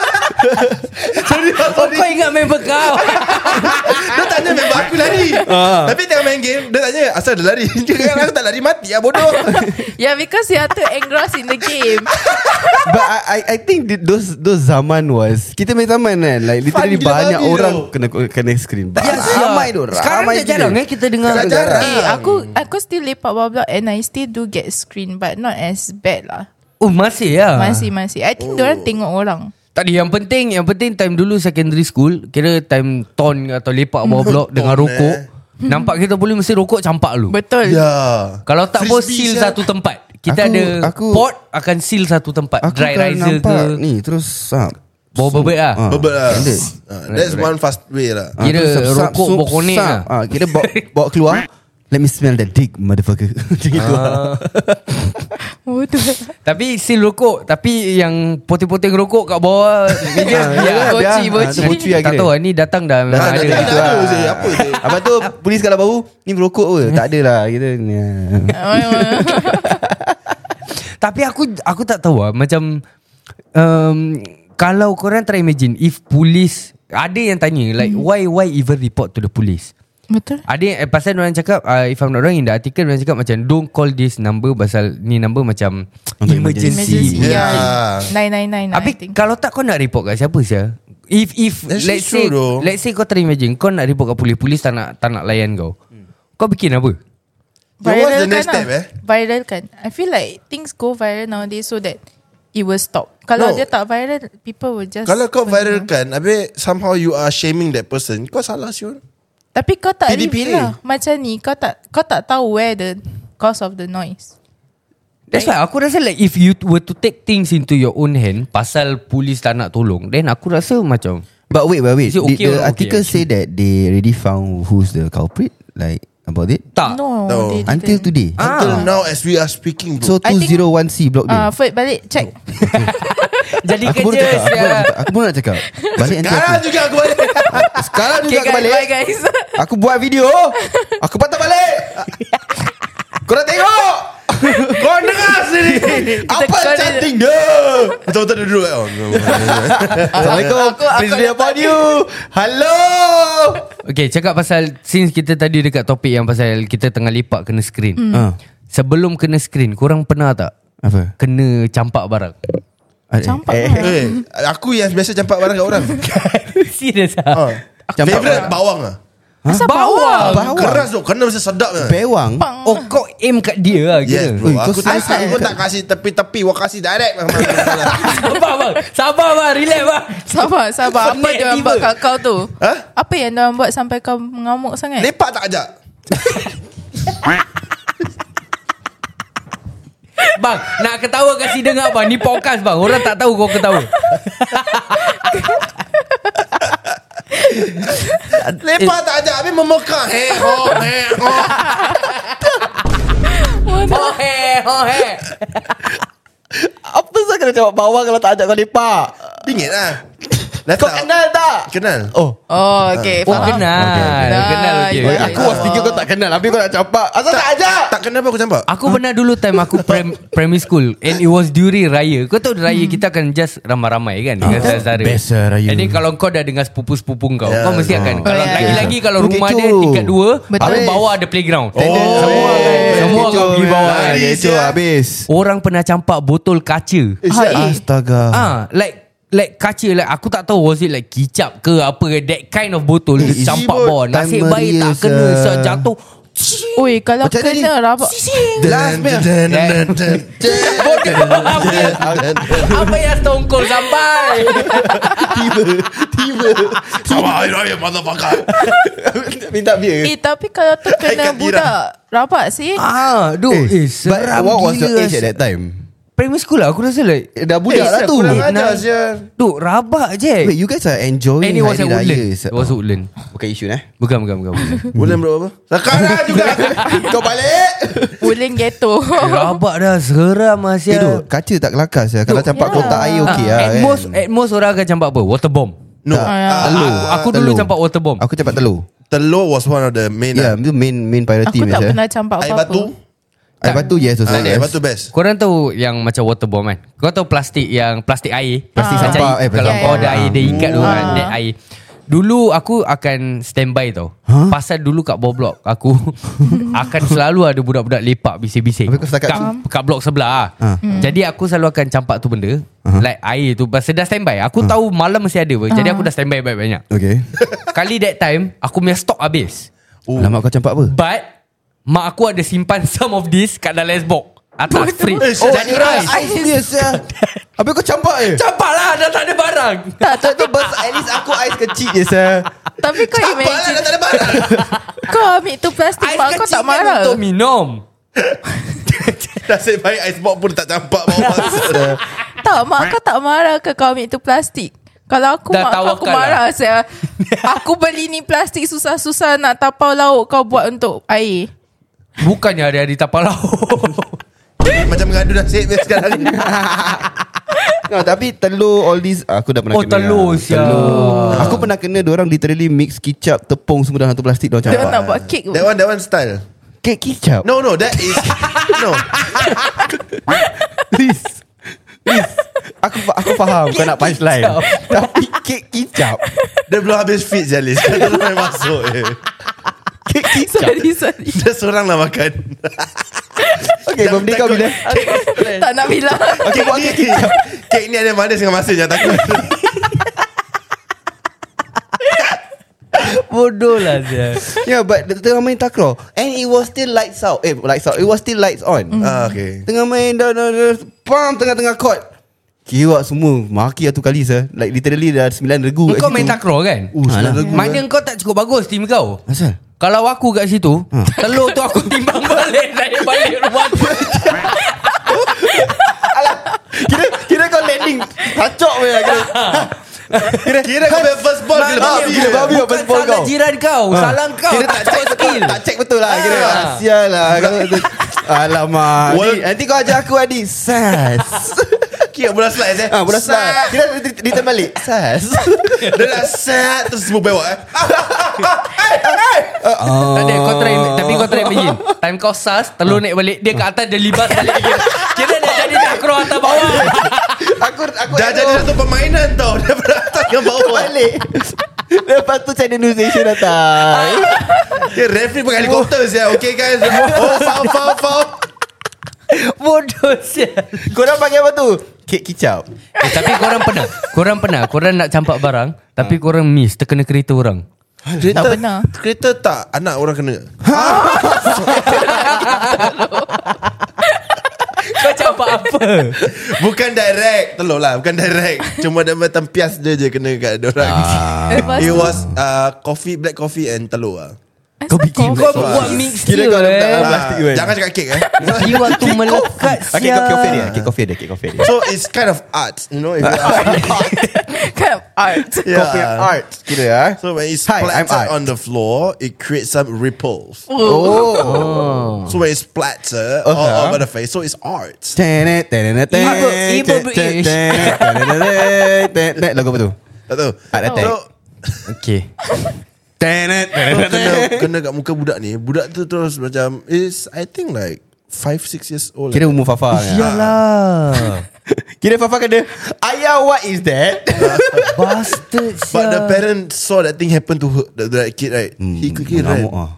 Speaker 5: Sorry lah
Speaker 3: Oh
Speaker 5: sorry
Speaker 3: kau ingat member kau
Speaker 5: Dia tanya member aku lari
Speaker 3: Ah.
Speaker 5: Tapi tengah main game Dia tanya asal dia lari Dia kata aku tak lari mati lah bodoh
Speaker 4: Yeah, because you are too engrossed in the game.
Speaker 2: But I, I I think the- those those zaman was kita main zaman kan like literally
Speaker 5: gila
Speaker 2: banyak
Speaker 5: babi
Speaker 2: orang
Speaker 5: tau.
Speaker 2: kena kena screen.
Speaker 3: Ya,
Speaker 2: Ba-
Speaker 3: sia.
Speaker 2: ramai tu.
Speaker 3: Sekarang
Speaker 2: ramai
Speaker 3: dah jarang eh Kita dengar
Speaker 5: Sekarang jarang.
Speaker 4: eh, aku aku still lepak bawah block and I still do get screen but not as bad lah.
Speaker 3: Oh masih ya
Speaker 2: Ah.
Speaker 4: Masih masih. I think oh. orang tengok orang.
Speaker 3: Tadi yang penting Yang penting time dulu secondary school Kira time ton atau lepak bawah blok Dengan
Speaker 5: Ton,
Speaker 3: rokok
Speaker 5: eh.
Speaker 3: Nampak kita boleh mesti rokok campak lu
Speaker 4: Betul.
Speaker 5: Ya
Speaker 3: Kalau tak pun
Speaker 5: Frisbee
Speaker 3: seal
Speaker 5: sial.
Speaker 3: satu tempat Kita
Speaker 2: Aku-
Speaker 3: ada
Speaker 2: aku-
Speaker 3: pot akan seal satu tempat
Speaker 2: Aku
Speaker 3: Dry
Speaker 2: kalau
Speaker 3: riser ke
Speaker 2: nampak ni terus sap.
Speaker 3: Bawa bebek lah
Speaker 2: Ah,
Speaker 5: Bebel lah
Speaker 2: standard.
Speaker 5: Ah, That's one fast way lah
Speaker 2: Ah,
Speaker 3: Kira
Speaker 2: terus sap, sap,
Speaker 3: rokok
Speaker 2: sup,
Speaker 3: bokonek
Speaker 2: sap.
Speaker 3: lah.
Speaker 2: Ah, kira bawa, bawa keluar. Let me smell that dick motherfucker. Macam lah. itu.
Speaker 4: Oh tu.
Speaker 3: Tapi seal rokok Tapi yang poting-poting rokok kat bawah meja,
Speaker 4: biar.
Speaker 3: ya.
Speaker 4: Boci, boci.
Speaker 2: Boci lah
Speaker 3: Tak
Speaker 2: kira.
Speaker 3: tahu lah ni datang dah memang
Speaker 5: dah
Speaker 3: ada
Speaker 2: Tak ada
Speaker 5: datang.
Speaker 2: gitu
Speaker 5: Tak
Speaker 2: lah.
Speaker 5: ada je, apa je.
Speaker 2: Apa tu polis kalau baru ni merokok ke? Tak ada lah kita. ni.
Speaker 3: Tapi aku aku tak tahu lah Macam um, Kalau korang try imagine If police Ada yang tanya Like why why even report to the police
Speaker 4: Betul.
Speaker 3: Ada yang eh, Pasal orang cakap uh, If I'm not wrong In the article orang cakap macam Don't call this number Pasal ni number macam
Speaker 2: Untuk
Speaker 3: Emergency,
Speaker 2: emergency.
Speaker 4: Emergency. Ya,
Speaker 5: Yeah.
Speaker 4: Yeah. Nine nine nine.
Speaker 3: Tapi
Speaker 4: I think.
Speaker 3: kalau tak kau nak report kat siapa sia If if
Speaker 5: That's
Speaker 3: let's
Speaker 5: true
Speaker 3: say
Speaker 5: though.
Speaker 3: let's say kau try imagine kau nak report kat polis, polis tak nak tak nak layan kau.
Speaker 5: Hmm.
Speaker 3: Kau bikin apa?
Speaker 5: Yo, what's the next step, eh?
Speaker 4: Viral kan lah. I feel like Things go viral nowadays So that It will stop
Speaker 5: No.
Speaker 4: Kalau dia tak viral People will just
Speaker 5: Kalau kau
Speaker 4: continue.
Speaker 5: viralkan Habis somehow you are shaming that person Kau salah siun
Speaker 4: Tapi kau tak
Speaker 5: Pilih-pilih.
Speaker 4: lah. Macam ni Kau tak Kau tak tahu where the Cause of the noise
Speaker 5: Eh.
Speaker 3: That's why aku rasa like if you were to take things into your own hand pasal polis tak nak tolong, then aku rasa macam
Speaker 2: But wait, but wait.
Speaker 3: Is it okay
Speaker 2: Did
Speaker 3: or
Speaker 2: the
Speaker 3: not okay,
Speaker 2: article say that they already found who's the culprit? Like about it?
Speaker 3: tak.
Speaker 4: No,
Speaker 5: No.
Speaker 4: they didn't.
Speaker 2: Until today.
Speaker 3: Ah.
Speaker 5: Until now as we are speaking bro
Speaker 2: So
Speaker 4: I think-
Speaker 2: 201C
Speaker 4: Ah,
Speaker 2: block
Speaker 4: uh,
Speaker 2: dia.
Speaker 4: Ferd balik check.
Speaker 3: Jadi
Speaker 2: Aku baru
Speaker 3: kerja
Speaker 2: cakap Aku baru
Speaker 3: sia.
Speaker 2: cakap, aku baru nak cakap Balik nanti
Speaker 5: Sekarang
Speaker 2: aku
Speaker 5: juga aku balik
Speaker 2: Sekarang juga
Speaker 4: Okay,
Speaker 2: aku
Speaker 4: guys,
Speaker 2: balik
Speaker 4: bye guys.
Speaker 2: Aku buat video Aku patah balik Korang tengok
Speaker 5: Kau dengar sendiri Apa
Speaker 4: call dia-
Speaker 5: chatting dia Ya. Betul-betul dia duduk oh, no.
Speaker 2: Assalamualaikum
Speaker 4: Aku- aku-
Speaker 2: Please
Speaker 4: aku
Speaker 2: be upon you Hello
Speaker 3: Okay cakap pasal Since kita tadi dekat topik yang pasal Kita tengah lepak kena screen
Speaker 4: Hmm.
Speaker 3: mm.
Speaker 2: Ah.
Speaker 3: Sebelum kena screen Korang pernah tak
Speaker 2: Apa?
Speaker 3: Kena campak barang
Speaker 4: Campak
Speaker 2: Eh,
Speaker 4: lah.
Speaker 5: Eh, Aku yang biasa campak barang kat orang
Speaker 3: Serius
Speaker 5: ha.
Speaker 3: ah?
Speaker 2: Campak
Speaker 5: Favorite bawang lah
Speaker 4: Asal
Speaker 3: Bawang.
Speaker 2: Bawang.
Speaker 5: Keras tu Kena mesti sedap lah.
Speaker 2: Bewang
Speaker 3: Oh kau aim kat dia lah
Speaker 5: Yes
Speaker 3: kira
Speaker 5: bro
Speaker 2: Ui, kau
Speaker 5: Aku tak,
Speaker 2: serius
Speaker 5: aku tak kasih tepi-tepi Aku kasih direct
Speaker 3: Sabar bang Sabar bang Relax bang
Speaker 4: Sabar, sabar. Apa
Speaker 3: Pelik
Speaker 4: dia orang
Speaker 3: tiba.
Speaker 4: buat kat kau tu?
Speaker 5: Ha?
Speaker 4: Apa yang dia orang buat sampai kau mengamuk sangat?
Speaker 5: Lepak tak ajak
Speaker 3: Bang nak ketawa kasi dengar bang Ni podcast bang Orang tak tahu kau ketawa
Speaker 5: Lepak
Speaker 2: eh.
Speaker 5: tak ajak Habis memekak Heh ho heh ho
Speaker 3: Oh hey Oh hey
Speaker 2: Apa sah kena jawab bawang Kalau tak ajak kau lepak
Speaker 5: Dingin lah Dah
Speaker 2: Kau
Speaker 5: tak-
Speaker 2: kenal tak?
Speaker 5: Kenal
Speaker 2: Oh
Speaker 4: Oh, okay.
Speaker 3: Oh
Speaker 4: faham. ya,
Speaker 3: kenal Kenal okay,
Speaker 4: Kenal,
Speaker 3: okay.
Speaker 2: Aku was thinking kau tak kenal Habis kau nak campak Asal tak ajak
Speaker 5: Tak kenal apa aku campak
Speaker 3: Aku pernah dulu time aku prim, primary school And it was during raya Kau tahu raya kita akan just ramai-ramai kan Dengan saudara
Speaker 2: Best lah raya.
Speaker 3: And then kalau kau dah dengan sepupu-sepupu kau
Speaker 5: Yeah.
Speaker 3: Kau mesti akan
Speaker 4: Oh,
Speaker 3: kalau
Speaker 4: yeah.
Speaker 3: Lagi-lagi kalau
Speaker 2: Bukit
Speaker 3: rumah
Speaker 2: Cu.
Speaker 3: dia tingkat dua
Speaker 4: Betul.
Speaker 3: Habis
Speaker 2: Habis.
Speaker 3: bawah ada playground
Speaker 5: Oh.
Speaker 2: Semua
Speaker 3: Semua kau pergi bawah
Speaker 5: kan.
Speaker 2: Kecoh habis
Speaker 3: Orang pernah campak botol kaca Ah,
Speaker 2: Astaga
Speaker 3: Like Like kaca like Aku tak tahu Was it like kicap ke apa ke, That kind of botol
Speaker 2: Eh,
Speaker 3: Dia campak
Speaker 2: easy
Speaker 3: bawah
Speaker 2: pun.
Speaker 3: Nasib
Speaker 2: Time
Speaker 3: baik tak
Speaker 2: Maria,
Speaker 3: kena
Speaker 2: sir.
Speaker 3: so, Jatuh
Speaker 4: Ui, kalau
Speaker 2: Macam mana
Speaker 4: kena
Speaker 2: ni?
Speaker 4: rabak.
Speaker 2: Last man
Speaker 3: Apa yang stone cold sampai
Speaker 2: Tiba Tiba
Speaker 5: Sabar Raya motherfucker
Speaker 2: Minta beer
Speaker 4: Eh, tapi kalau tu kena
Speaker 5: Ikat
Speaker 4: budak rabak sih.
Speaker 3: Ah, dude, eh,
Speaker 2: But
Speaker 3: seram
Speaker 2: what was your
Speaker 3: gila.
Speaker 2: age at that time?
Speaker 3: Primary school lah, aku rasa like
Speaker 2: Eh, dah budak
Speaker 5: Eh,
Speaker 2: lah tu
Speaker 5: kurang ajar
Speaker 3: nah.
Speaker 5: sia.
Speaker 3: Dude, rabak
Speaker 2: Wait,
Speaker 3: je
Speaker 2: you guys are enjoying eh?
Speaker 3: And Eh. it was at
Speaker 2: Hari Raya.
Speaker 3: Woodland It was at Woodland
Speaker 2: Bukan isu eh
Speaker 3: Bukan, bukan, bukan bukan.
Speaker 5: Bulan berapa? Sekarang lah juga Kau balik
Speaker 4: Uling ghetto.
Speaker 3: Rabak dah, seram lah
Speaker 2: Eh
Speaker 3: siap.
Speaker 2: duk, kaca tak kelakar saya. Kalau campak
Speaker 4: ya.
Speaker 2: kotak air okey
Speaker 3: Ah,
Speaker 2: lah
Speaker 3: At
Speaker 2: kan.
Speaker 3: most, at most orang akan campak apa? Water bomb
Speaker 5: No
Speaker 2: Tak.
Speaker 5: Ah,
Speaker 2: Telur.
Speaker 5: ah,
Speaker 3: Aku dulu
Speaker 2: Telur.
Speaker 3: campak water bomb
Speaker 2: Aku campak telur
Speaker 5: Telur was one of the main
Speaker 2: Ya, yeah, itu main main priority eh.
Speaker 4: Aku tak
Speaker 2: Malaysia.
Speaker 4: pernah campak
Speaker 5: Air
Speaker 4: apa-apa.
Speaker 5: batu
Speaker 2: Air batu yes also.
Speaker 5: Ah,
Speaker 2: yes.
Speaker 5: Air batu best
Speaker 3: Korang tahu yang macam water bomb kan? Kau tahu plastik yang plastik air? Plastik
Speaker 2: Ah.
Speaker 3: saja.
Speaker 2: Campak, eh,
Speaker 3: kalau
Speaker 2: plastik
Speaker 3: kau
Speaker 2: air.
Speaker 3: ada air, dia ikat tu kan,
Speaker 4: Ah.
Speaker 3: that air. Dulu aku akan standby tau. Huh? Pasal dulu kat bawah blok aku akan selalu ada budak-budak lepak bising-bising.
Speaker 2: Habis kau setakat
Speaker 3: kat, kat blok sebelah.
Speaker 2: Ah. Uh-huh.
Speaker 3: Ah. Jadi aku selalu akan campak tu benda. Like air tu pasal dah standby. Aku
Speaker 2: Hmm.
Speaker 3: tahu malam mesti ada. apa. Jadi aku dah standby banyak-banyak.
Speaker 2: Okay.
Speaker 3: Kali that time aku punya stok habis.
Speaker 5: Oh.
Speaker 2: Lama kau campak apa?
Speaker 3: But mak aku ada simpan some of this kat dalam lesbok.
Speaker 5: Eh,
Speaker 3: Atas fridge.
Speaker 5: sial,
Speaker 3: Jadi rice.
Speaker 2: Air serius ya. Habis kau campak eh?
Speaker 3: Campak lah Dah tak ada barang
Speaker 2: Tak, tak, tak. Bas, at least aku ais kecil je sah.
Speaker 4: Tapi kau
Speaker 5: Campak lah dah
Speaker 4: imagine
Speaker 5: tak ada barang
Speaker 4: Kau ambil tu plastik
Speaker 3: Ais
Speaker 4: Mak kau
Speaker 3: kecil
Speaker 4: tak
Speaker 3: kan
Speaker 4: marah
Speaker 3: Untuk minum
Speaker 5: Nasib baik icebox pun tak campak bawah masa
Speaker 4: Tak mak kau tak marah ke Kau ambil tu plastik Kalau aku
Speaker 3: Dah
Speaker 4: mak kau aku
Speaker 3: tawakal
Speaker 4: marah saya. Aku beli ni plastik Susah-susah nak tapau lauk Kau buat untuk air
Speaker 3: Bukannya hari-hari tapal lauk
Speaker 5: Macam mengadu nasib dia sekarang ni.
Speaker 2: No, tapi telur all this aku dah pernah
Speaker 3: Oh
Speaker 2: kena. ah.
Speaker 3: telur sial
Speaker 2: Aku pernah kena orang literally mix kicap, tepung semua dalam satu plastik dia
Speaker 4: Dia orang nak
Speaker 2: campak.
Speaker 4: buat kek
Speaker 5: That one that one style
Speaker 2: Kek kicap.
Speaker 5: No no that is No
Speaker 2: Please Please Aku fa- aku faham Kau nak punchline
Speaker 3: kicap.
Speaker 2: Tapi kek kicap
Speaker 5: Dia belum habis fit je Liz Dia belum habis masuk je
Speaker 2: Kek kicap
Speaker 4: Sorry sorry
Speaker 5: Dia seorang lah makan
Speaker 2: Okay
Speaker 5: Jangan
Speaker 2: birthday kau
Speaker 5: takut.
Speaker 2: bila
Speaker 4: Tak nak bilang
Speaker 5: Kek ni Kek ni ada manis dengan masa Jangan takut
Speaker 3: bodoh lah dia.
Speaker 2: Yeah but Tengah main takraw And it was still lights out Eh lights out It was still lights on
Speaker 5: Ah, okay.
Speaker 2: Tengah main dah, dah, dah, Pam tengah-tengah court Kiwak semua Maki satu kali sah Like literally dah 9 regu kat
Speaker 3: Kau
Speaker 2: situ.
Speaker 3: main takraw kan?
Speaker 5: Uh,
Speaker 2: Alah.
Speaker 5: sebenarnya
Speaker 3: Mana kau tak cukup bagus team kau.
Speaker 2: Asal?
Speaker 3: Kalau aku kat situ,
Speaker 2: Hmm.
Speaker 3: telur tu aku timbang balik dari balik rumah tu.
Speaker 2: Kira kira kau landing Kacok weh kira. Kira
Speaker 5: Kira kau punya first ball gila
Speaker 2: Nak-
Speaker 5: babi.
Speaker 2: gila babi.
Speaker 3: Bukan
Speaker 2: pasal
Speaker 3: salah
Speaker 2: kau.
Speaker 3: jiran kau, salah kau.
Speaker 2: Kira tak check betul Tak check betul lah Kira
Speaker 3: Ah.
Speaker 2: Sial lah Kalau tu- Alamak
Speaker 5: Wal-
Speaker 2: Nanti- Nanti kau ajak aku adik Sas
Speaker 5: Kira bola slide eh.
Speaker 2: Ah, Bola
Speaker 5: Slide.
Speaker 2: sas Kira ret- return balik Sas
Speaker 5: Dia dah set Terus semua bewak eh
Speaker 2: Oh.
Speaker 3: Tak ada kau try Tapi kau try imagine Time kau sas Telur
Speaker 2: Ah.
Speaker 3: naik balik Dia kat atas Dia libas balik again Kira dia jadi tak keluar atas bawah
Speaker 2: Aku aku
Speaker 5: Dah jadi satu permainan tau Daripada atas yang
Speaker 2: Bawa
Speaker 5: bawah
Speaker 2: balik Lepas tu China News Asia datang
Speaker 5: Dia referee pakai helikopter siap Okay guys Oh foul foul foul
Speaker 3: Bodoh sial
Speaker 2: Korang panggil apa tu? Kek kicap
Speaker 3: eh, Tapi korang pernah Korang pernah Korang nak campak barang Tapi korang miss Terkena kereta orang
Speaker 5: Kereta
Speaker 4: pernah.
Speaker 5: Kereta tak Anak orang kena
Speaker 3: Kau campak apa
Speaker 5: Bukan direct Telur lah Bukan direct Cuma dia macam pias dia je Kena kat dia orang
Speaker 4: Lepas
Speaker 5: It
Speaker 4: tu,
Speaker 5: was uh, Coffee Black coffee and telur lah
Speaker 4: asal
Speaker 3: Kau
Speaker 4: kau-
Speaker 3: buat mix
Speaker 2: Kira
Speaker 3: dia
Speaker 2: kau dah
Speaker 3: eh.
Speaker 2: Ah, plastik kan?
Speaker 5: Jangan cakap kek eh
Speaker 3: Jiwa tu melekat
Speaker 2: Okay, kau kau fair dia
Speaker 3: sial
Speaker 2: Kek kau fair dia Kek kau fair dia
Speaker 5: So it's kind of art You know if you
Speaker 4: Kind of art
Speaker 5: Yeah.
Speaker 2: Kau fair art Kira ah.
Speaker 5: So when it's
Speaker 2: Hi, I'm
Speaker 5: splattered
Speaker 2: art.
Speaker 5: on the floor It creates some ripples
Speaker 2: Oh
Speaker 5: So when it's splattered all
Speaker 2: Uh-huh.
Speaker 5: over the face, so it's art.
Speaker 2: Tenet, tenet, tenet,
Speaker 3: Ibu- Ibu
Speaker 2: tenet,
Speaker 3: British.
Speaker 2: tenet, tenet, tenet, tenet. Lagu apa tu?
Speaker 5: Tak tahu.
Speaker 2: Art attack.
Speaker 5: So,
Speaker 3: Okay
Speaker 2: Tenet,
Speaker 5: so
Speaker 2: tenet,
Speaker 5: kena,
Speaker 2: tenet.
Speaker 5: kena kat muka budak ni, budak tu terus macam is I think like 5 6 years old.
Speaker 2: Kira umur Fafa kan?
Speaker 3: Yalah
Speaker 2: Lah, Kira Fafa kena Ayah what is that
Speaker 3: Bastard sial
Speaker 5: But the parent saw that thing happen to her, the, that kid right. He quickly ran.
Speaker 2: Mengamuk Hmm, ah.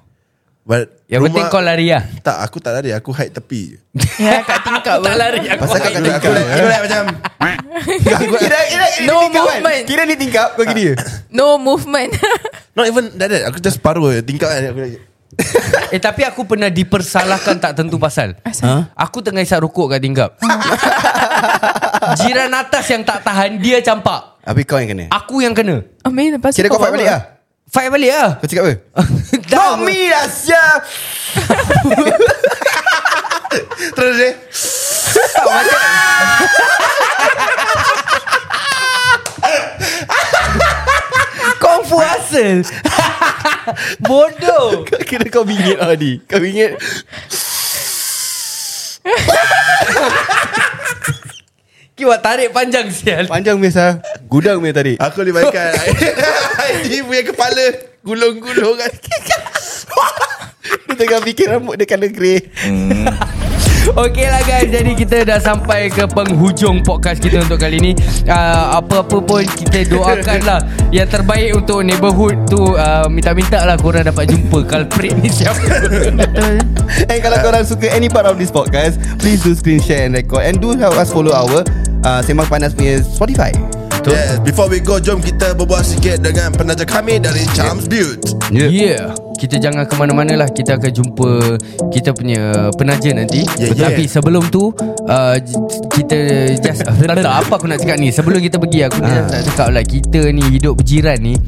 Speaker 5: But
Speaker 3: Yang penting kau lari lah
Speaker 5: Tak, aku tak lari, aku hide tepi. je.
Speaker 4: Ya kat tingkap
Speaker 3: Tak lari aku
Speaker 2: Pasal kau kat
Speaker 5: Aku like,
Speaker 2: tingkap
Speaker 5: aku like,
Speaker 2: eh?
Speaker 5: aku like macam
Speaker 2: Kira kira kira
Speaker 4: No
Speaker 2: ni tingkap kan?
Speaker 4: movement.
Speaker 2: Kira ni tingkap Kau gini je
Speaker 4: No movement
Speaker 5: not even that, that. aku just paruh je, tingkap kan. Aku like,
Speaker 3: Eh tapi aku pernah dipersalahkan tak tentu pasal.
Speaker 4: Asal?
Speaker 3: Aku tengah isap rokok kat tingkap. Jiran atas yang tak tahan dia campak.
Speaker 2: Habis kau yang kena
Speaker 3: Aku yang kena.
Speaker 4: Amin lepas tu
Speaker 2: Kira Ah. kau
Speaker 4: buat
Speaker 2: fight balik
Speaker 4: apa?
Speaker 2: lah
Speaker 3: Fight balik lah.
Speaker 2: Kau cakap apa
Speaker 3: Dah-
Speaker 2: Not me lah siap
Speaker 5: Terus dia
Speaker 3: Kau puasa. Bodoh.
Speaker 2: Kau kira kau bingit Adi Kau bingit
Speaker 3: Kiwa tarik panjang sial.
Speaker 2: Panjang biasa Gudang punya tarik
Speaker 5: Aku libatkan Dia punya kepala Gulung-gulung kan
Speaker 2: Dia tengah fikir rambut dia kena grey
Speaker 3: Okey lah guys Jadi kita dah sampai ke penghujung podcast kita untuk kali ni uh, Apa-apa pun kita doakan lah Yang terbaik untuk neighborhood tu uh, Minta-minta lah korang dapat jumpa Culprit ni siapa
Speaker 4: Betul
Speaker 2: And Eh, kalau korang suka any part of this podcast Please do screen share and record And do help us follow our uh, Sembang Panas punya Spotify
Speaker 5: Yes, before we go Jom kita berbual sikit Dengan penaja kami Dari Charms Butte
Speaker 2: Ya.
Speaker 3: Yeah. yeah. Ya. Kita jangan ke mana-mana lah Kita akan jumpa Kita punya penaja nanti
Speaker 2: Ya,
Speaker 5: Yeah, yeah.
Speaker 3: Tapi sebelum tu uh, j- Kita just Apa aku nak cakap ni Sebelum kita pergi
Speaker 2: Ah.
Speaker 3: Aku just nak cakap lah Kita ni hidup berjiran ni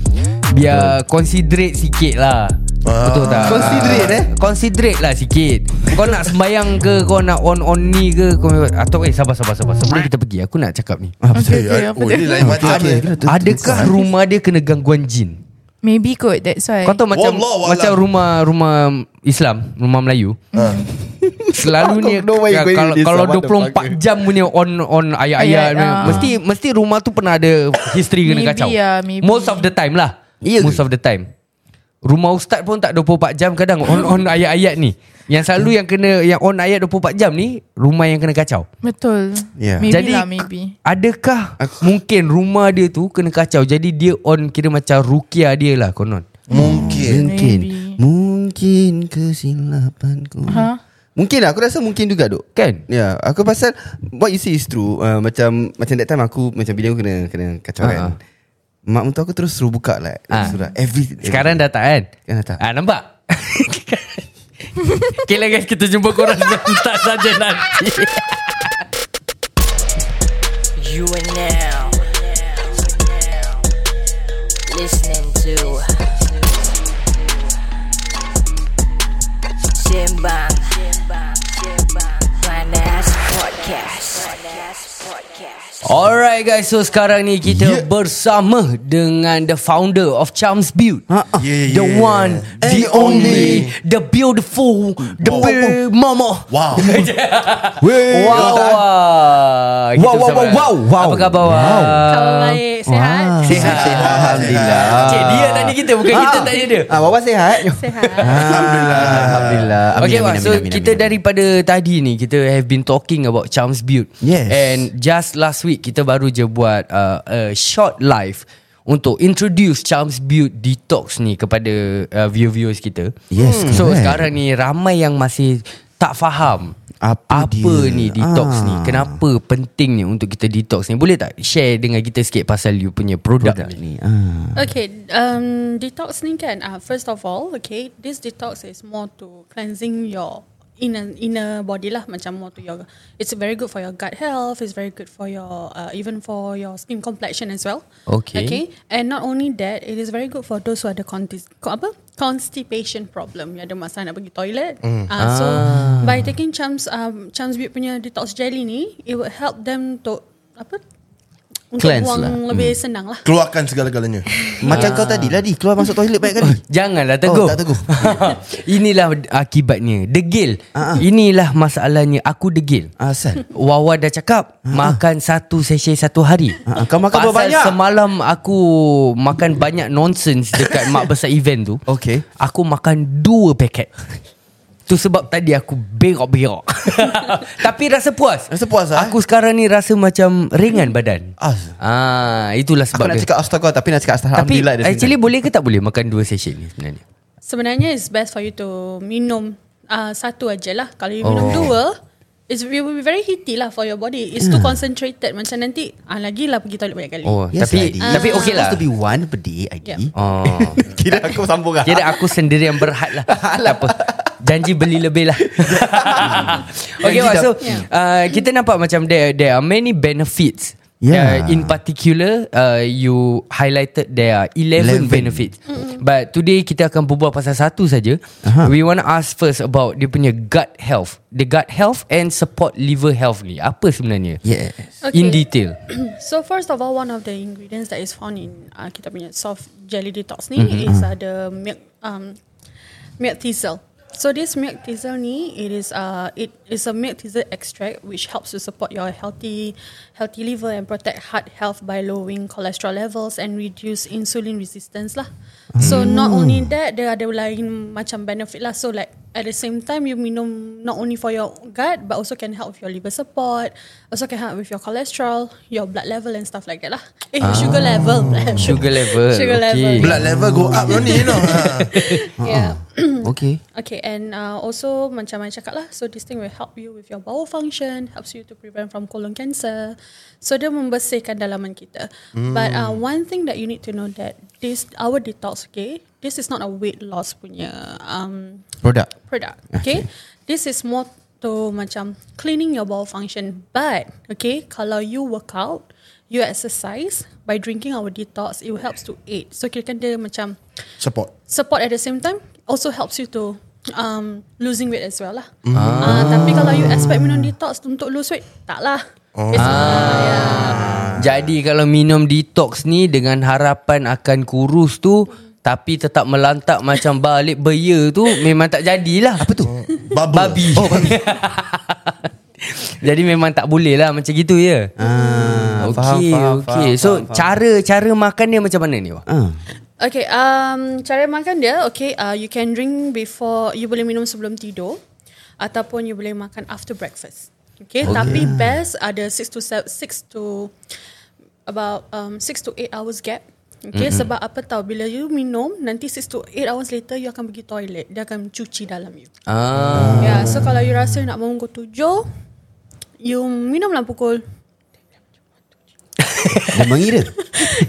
Speaker 3: Biar considerate sikit lah Betul tak?
Speaker 2: Ah. Considerate, eh?
Speaker 3: Considerate lah sikit Kau nak sembayang ke Kau nak on-on ni ke kau, Atau eh sabar sabar sabar Sebelum kita pergi Aku nak cakap
Speaker 2: Ah,
Speaker 3: ni
Speaker 4: Okay, okay,
Speaker 2: Eh,
Speaker 4: apa
Speaker 5: Oh
Speaker 4: dia?
Speaker 5: ini lain macam ni
Speaker 3: Adakah rumah dia kena gangguan jin?
Speaker 4: Maybe kot That's why
Speaker 3: Kau tahu macam
Speaker 5: Wallah, wallah.
Speaker 3: macam rumah rumah Islam, rumah Melayu.
Speaker 5: Ha.
Speaker 3: Selalunya
Speaker 2: Aku don't know why you
Speaker 3: ka-
Speaker 2: going
Speaker 3: kalau
Speaker 2: with this,
Speaker 3: kalau
Speaker 2: what the
Speaker 3: 24
Speaker 2: fuck.
Speaker 3: jam punya on on
Speaker 4: Ayat,
Speaker 3: ayat-ayat
Speaker 4: ah.
Speaker 3: mesti mesti rumah tu pernah ada history kena
Speaker 4: Maybe
Speaker 3: kacau.
Speaker 4: ah, maybe.
Speaker 3: Most of the time lah. Most of the time. Rumah ustaz pun tak 24 jam kadang on on ayat-ayat ni. Yang selalu yang kena yang on ayat 24 jam ni rumah yang kena kacau.
Speaker 4: Betul
Speaker 2: Yeah.
Speaker 4: Maybe
Speaker 3: Jadi,
Speaker 4: lah maybe
Speaker 3: Adakah mungkin rumah dia tu kena kacau jadi dia on kira macam rukia dia lah konon.
Speaker 5: Mungkin
Speaker 2: Mungkin
Speaker 4: Maybe.
Speaker 2: Mungkin kesilapanku
Speaker 4: Ha?
Speaker 2: Mungkin lah Aku rasa mungkin juga duk
Speaker 3: Kan?
Speaker 2: Ya, yeah, aku pasal what you say is true. Uh, macam macam that time aku macam bila aku kena kena kacau
Speaker 3: Ah.
Speaker 2: kan. Mak mentua aku terus suruh buka lah
Speaker 3: Ah.
Speaker 2: ha. Surat every, every
Speaker 3: Sekarang dah tak kan
Speaker 2: Sekarang dah tak.
Speaker 3: ah, Nampak Okay lah guys Kita jumpa korang sebentar saja nanti
Speaker 1: You are now listening to Simbang Panas Podcast.
Speaker 3: Alright guys So sekarang ni Kita yeah. bersama Dengan the founder Of Charms Build
Speaker 2: Ha, ah.
Speaker 5: Yeah,
Speaker 3: The
Speaker 5: yeah.
Speaker 3: one The
Speaker 5: And
Speaker 3: only The beautiful The
Speaker 5: Wow.
Speaker 3: big mama
Speaker 5: Wow
Speaker 2: Wey,
Speaker 3: Wow
Speaker 2: kau tak-
Speaker 3: Kita
Speaker 2: Wow, wow,
Speaker 3: bersama-
Speaker 2: wow, wow.
Speaker 3: Apa khabar
Speaker 7: Kalau baik Sehat
Speaker 2: Ah.
Speaker 3: Sihat
Speaker 2: Alhamdulillah
Speaker 3: Cik dia tadi kita Bukan kita tanya dia
Speaker 2: ah, Bapak sihat
Speaker 7: Sehat
Speaker 2: Alhamdulillah Alhamdulillah Amin,
Speaker 3: okay,
Speaker 2: amin,
Speaker 3: Wak,
Speaker 2: amin,
Speaker 3: so
Speaker 2: amin,
Speaker 3: kita
Speaker 2: amin.
Speaker 3: daripada tadi ni kita have been talking about Charms Build.
Speaker 2: Yes.
Speaker 3: And just last week kita baru je buat uh, a short live untuk introduce Charms Build Detox ni kepada uh, viewer-viewers kita. Hmm.
Speaker 2: Yes,
Speaker 3: So
Speaker 2: correct.
Speaker 3: sekarang ni ramai yang masih tak faham
Speaker 2: Apa
Speaker 3: apa
Speaker 2: dia?
Speaker 3: ni detox
Speaker 2: Ah.
Speaker 3: ni? Kenapa penting ni untuk kita detox ni? Boleh tak share dengan kita sikit pasal you punya produk,
Speaker 2: Produk
Speaker 3: ni?
Speaker 2: ni ah.
Speaker 7: Okay, um, detox ni kan. Uh, first of all, okay, this detox is more to cleansing your inner inner body lah. Macam more to your, it's very good for your gut health. It's very good for your uh, even for your skin complexion as well.
Speaker 3: Okay.
Speaker 7: Okay, and not only that, it is very good for those who ada contis, co- apa constipation problem. You ada masalah nak pergi toilet. Mm. Uh, so
Speaker 2: Ah.
Speaker 7: by taking Chams um, Chams Beaut punya detox jelly ni, it will help them to apa? Untuk
Speaker 2: Cleanse
Speaker 7: buang
Speaker 2: lah. Mm.
Speaker 7: lebih senang lah.
Speaker 5: Keluarkan segala-galanya
Speaker 2: Macam kau tadi lah di Keluar masuk toilet baik kali
Speaker 3: Janganlah teguh.
Speaker 2: Oh, tak teguh.
Speaker 3: Inilah akibatnya. Degil.
Speaker 2: Ah, ah.
Speaker 3: Inilah masalahnya. Aku degil.
Speaker 2: Asal
Speaker 3: Wawa dah cakap Makan satu sachet satu hari
Speaker 2: Ah, kau makan
Speaker 3: Pasal
Speaker 2: berbanyak.
Speaker 3: semalam aku Makan banyak nonsense Dekat mak besar event tu
Speaker 2: Okay.
Speaker 3: Aku makan dua paket Tu sebab tadi aku berok-berok Tapi rasa puas
Speaker 5: Rasa puas lah,
Speaker 2: ah,
Speaker 5: eh?
Speaker 3: Aku sekarang ni rasa macam Ringan badan
Speaker 2: As-
Speaker 3: Ah, Itulah
Speaker 2: Aku
Speaker 3: sebab
Speaker 2: nak
Speaker 3: dia
Speaker 2: cakap astagfirullah Tapi nak cakap
Speaker 3: Tapi
Speaker 2: astagfirullah
Speaker 3: actually boleh ke tak boleh Makan dua sachet ni sebenarnya
Speaker 7: Sebenarnya it's best for you to minum uh, satu aja lah. Kalau you
Speaker 3: Oh.
Speaker 7: minum dua, it's, it will be very heaty lah for your body. It's too concentrated. Macam nanti, ah, lagilah pergi toilet banyak kali.
Speaker 3: Hmm. Oh, tapi tapi
Speaker 2: It's
Speaker 3: okey lah.
Speaker 2: supposed to be one per day ID
Speaker 7: Yeah.
Speaker 3: Oh.
Speaker 2: Kira aku sambung lah
Speaker 3: Kira aku sendiri yang berhad lah Tak apa Janji beli lebih lah Okay Wak So uh, Kita nampak macam There, there are many benefits
Speaker 2: Yeah.
Speaker 3: Uh, in particular uh, You highlighted There are 11,
Speaker 2: 11.
Speaker 3: benefits But today Kita akan berbual pasal satu saja. We want to ask first About dia punya gut health The gut health And support liver health ni Apa sebenarnya
Speaker 2: Yes
Speaker 7: Okay.
Speaker 3: In detail
Speaker 7: So first of all, one of the ingredients that is found in uh, kita punya soft jelly detox ni mm-hmm. is uh, the milk um, milk thistle. So this milk thistle ni, it is uh, it is a milk thistle extract which helps to support your healthy healthy liver and protect heart health by lowering cholesterol levels and reduce insulin resistance lah. So not only that, there ada lain macam benefit lah. So like at the same time you minum not only for your gut but also can help with your liver support also can help with your cholesterol your blood level and stuff like that lah eh sugar level
Speaker 3: Ah. Sugar level,
Speaker 7: sugar
Speaker 3: okay.
Speaker 7: level
Speaker 5: Blood level go up Lo ni you know ha.
Speaker 3: Uh-uh.
Speaker 7: yeah
Speaker 2: Okay
Speaker 7: Okay, and uh, also macam I cakap lah, so this thing will help you with your bowel function, helps you to prevent from colon cancer. So dia membersihkan dalaman kita. But uh,
Speaker 3: Hmm.
Speaker 7: one thing that you need to know that this our detox, okay, this is not a weight loss punya um,
Speaker 2: Produk
Speaker 7: product. Okay? This is more to macam cleaning your bowel function. But, okay, kalau you work out, you exercise, by drinking our detox, it helps to aid. So, kira kan dia macam
Speaker 5: Support
Speaker 7: support at the same time also helps you to um, losing weight as well lah. Ah. tapi kalau you expect minum detox untuk lose weight, tak lah. It's, yeah.
Speaker 3: Jadi kalau minum detox ni dengan harapan akan kurus tu tapi tetap melantak macam balik beya tu memang tak jadilah. Apa tu?
Speaker 5: Bubble
Speaker 3: Babi. Oh, babi. Jadi memang tak boleh lah macam gitu ya. Ah, okay,
Speaker 2: faham, faham,
Speaker 3: okay.
Speaker 2: faham,
Speaker 3: so
Speaker 2: faham, faham.
Speaker 3: cara cara makan dia macam mana ni? Wak?
Speaker 2: ah.
Speaker 7: Okay, um, cara makan dia, okay, uh, you can drink before, you boleh minum sebelum tidur ataupun you boleh makan after breakfast. Okay, okay. tapi best ada 6 to 7, 6 to about um, 6 to 8 hours gap. Okay, mm-hmm. sebab apa tahu bila you minum nanti 6 to 8 hours later you akan pergi toilet, dia akan cuci dalam you.
Speaker 3: Ah,
Speaker 7: Ya, yeah, so kalau you rasa nak bangun pukul tujuh, you minumlah pukul
Speaker 2: Dia mengira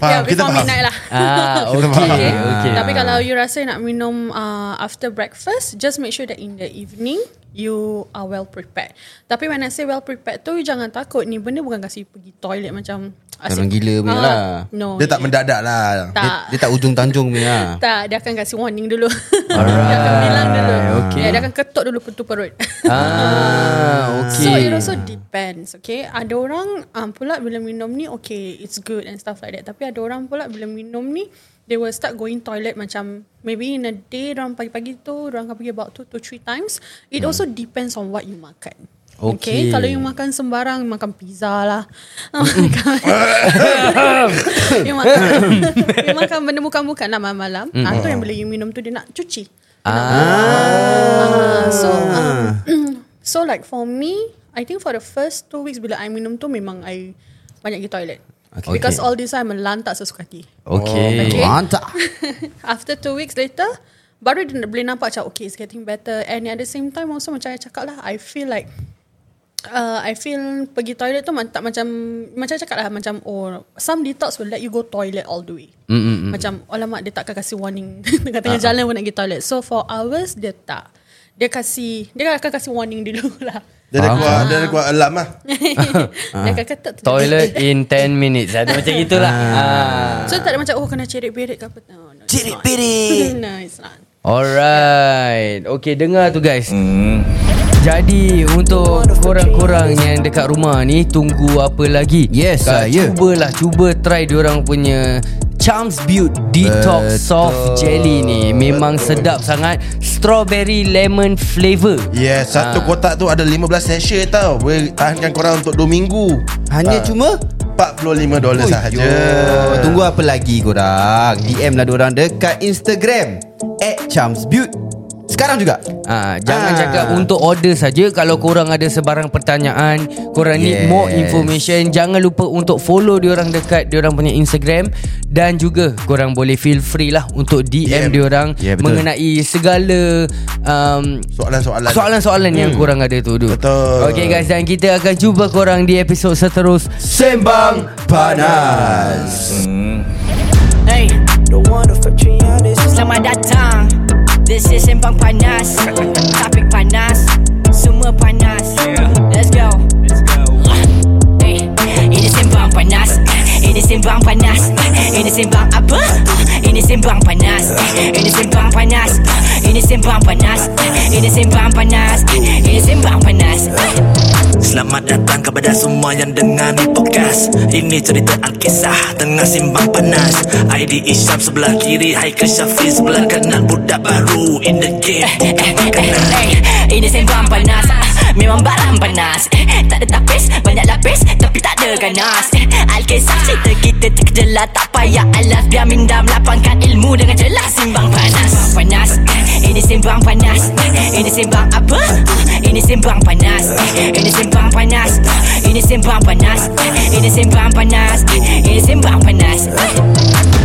Speaker 7: yeah,
Speaker 5: Faham, kita
Speaker 7: before
Speaker 5: faham. Ah.
Speaker 7: midnight lah.
Speaker 3: Ah, okay,
Speaker 7: Okay.
Speaker 3: okay.
Speaker 7: Tapi kalau you rasa nak minum uh, after breakfast, just make sure that in the evening you are well prepared. Tapi when I say well prepared tu, you jangan takut. Ni benda bukan kasi pergi toilet macam asyik-
Speaker 2: Dalam gila punya
Speaker 7: Ah,
Speaker 2: lah.
Speaker 7: No.
Speaker 5: Dia tak mendadak lah
Speaker 7: Tak.
Speaker 2: Dia, dia tak ujung tanjung punya lah.
Speaker 7: Tak, dia akan kasi warning dulu. Alright. dia akan bilang dulu.
Speaker 3: okay.
Speaker 7: Yeah, dia akan ketuk dulu pintu perut.
Speaker 3: Ah, okay.
Speaker 7: So it also depends Okay Ada orang um, pula Bila minum ni Okay it's good And stuff like that Tapi ada orang pula Bila minum ni They will start going toilet Macam Maybe in a day Orang pagi-pagi tu Orang akan pergi about 2 to 3 times It also depends on what you makan
Speaker 3: Hmm. Okay.
Speaker 7: Kalau you makan sembarang Makan pizza lah Makan You makan You makan benda bukan-bukan lah Malam-malam
Speaker 3: Hmm.
Speaker 7: mm. Atau yang bila you minum tu Dia nak cuci ah. So um, So like for me I think for the first two weeks Bila I minum tu Memang I Banyak pergi toilet
Speaker 2: Okay.
Speaker 7: okay. Because
Speaker 2: Okay.
Speaker 7: all this time Melantak sesuka hati
Speaker 3: Oh, Okay.
Speaker 7: Okay.
Speaker 2: Mantap.
Speaker 7: After two weeks later Baru dia boleh nampak macam Okay it's getting better And at the same time also Macam I cakap lah I feel like uh, I feel pergi toilet tu ma- tak macam Macam I cakap lah Macam oh Some detox will let you go toilet all the way mm Ah, Macam Alamak dia takkan kasi warning Tengah-tengah jalan pun nak pergi toilet So for ours Dia tak Dia kasi Dia akan kasi warning dulu lah
Speaker 5: Dia dah keluar Dia dah keluar alarm lah
Speaker 7: Dia akan ketuk tu.
Speaker 3: Toilet in 10 minutes. Ada macam itulah. Ah.
Speaker 7: So tak ada macam Oh kena cerit-berit ke apa No, no it's not. No it's not
Speaker 3: Alright. Okay, dengar tu guys. Hmm. Jadi untuk korang-korang yang dekat rumah ni tunggu apa lagi?
Speaker 2: Yes,
Speaker 3: Kak,
Speaker 2: saya.
Speaker 3: Cubalah cuba try diorang punya Charms Butte Detox Betul. Soft Jelly ni memang sedap sangat. Strawberry lemon flavour.
Speaker 5: Yes
Speaker 2: ah.
Speaker 5: Satu kotak tu ada 15 sachet tau Boleh tahankan korang untuk 2 minggu
Speaker 2: Hanya cuma
Speaker 5: $45 dollar sahaja
Speaker 2: Yo, Tunggu apa lagi korang DM lah diorang dekat Instagram At Charms Beauty Sekarang juga
Speaker 3: Ha, jangan
Speaker 2: Ah.
Speaker 3: ha. cakap untuk order saja kalau korang ada sebarang pertanyaan, korang yes. need
Speaker 2: Yes.
Speaker 3: more information, jangan lupa untuk follow diorang dekat diorang punya Instagram dan juga korang boleh feel free lah untuk DM
Speaker 5: Yeah.
Speaker 3: diorang
Speaker 2: Yeah, Ya, betul.
Speaker 3: mengenai segala um,
Speaker 5: Soalan-soalan
Speaker 3: soalan-soalan yang
Speaker 2: Hmm.
Speaker 3: korang ada tu dulu.
Speaker 5: Betul.
Speaker 3: Okay guys dan kita akan jumpa korang di episod seterus.
Speaker 2: Sembang Panas
Speaker 1: Hey, Selamat datang This is Sembang Panas Topik panas Semua panas Let's go Hey, Ini Sembang Panas Ini Sembang Panas Ini Sembang apa? Ini Sembang Panas Ini Sembang Panas Ini Sembang Panas Ini Sembang Panas Ini Sembang Panas
Speaker 6: Selamat datang kepada semua yang dengar ni podcast Ini cerita Alkisah Tengah simbang panas ID Isyam sebelah kiri Haikal Syafiq sebelah kanan Budak baru in the game Bukan makanan
Speaker 1: Eh, Ini sembang panas Ah, Memang barang panas Eh, Tak ada tapis Banyak lapis Tapi tak ada ganas Eh, Alkisah cerita kita terkejelah Tak payah alas Biar minda melapangkan ilmu Dengan jelas Simbang panas Sembang panas Eh, Ini sembang panas Eh, Ini sembang apa? Ah, Ini sembang panas Eh, Ini sembang panas Ah, Ini sembang panas Eh, Ini sembang panas Eh, Ini sembang panas Eh,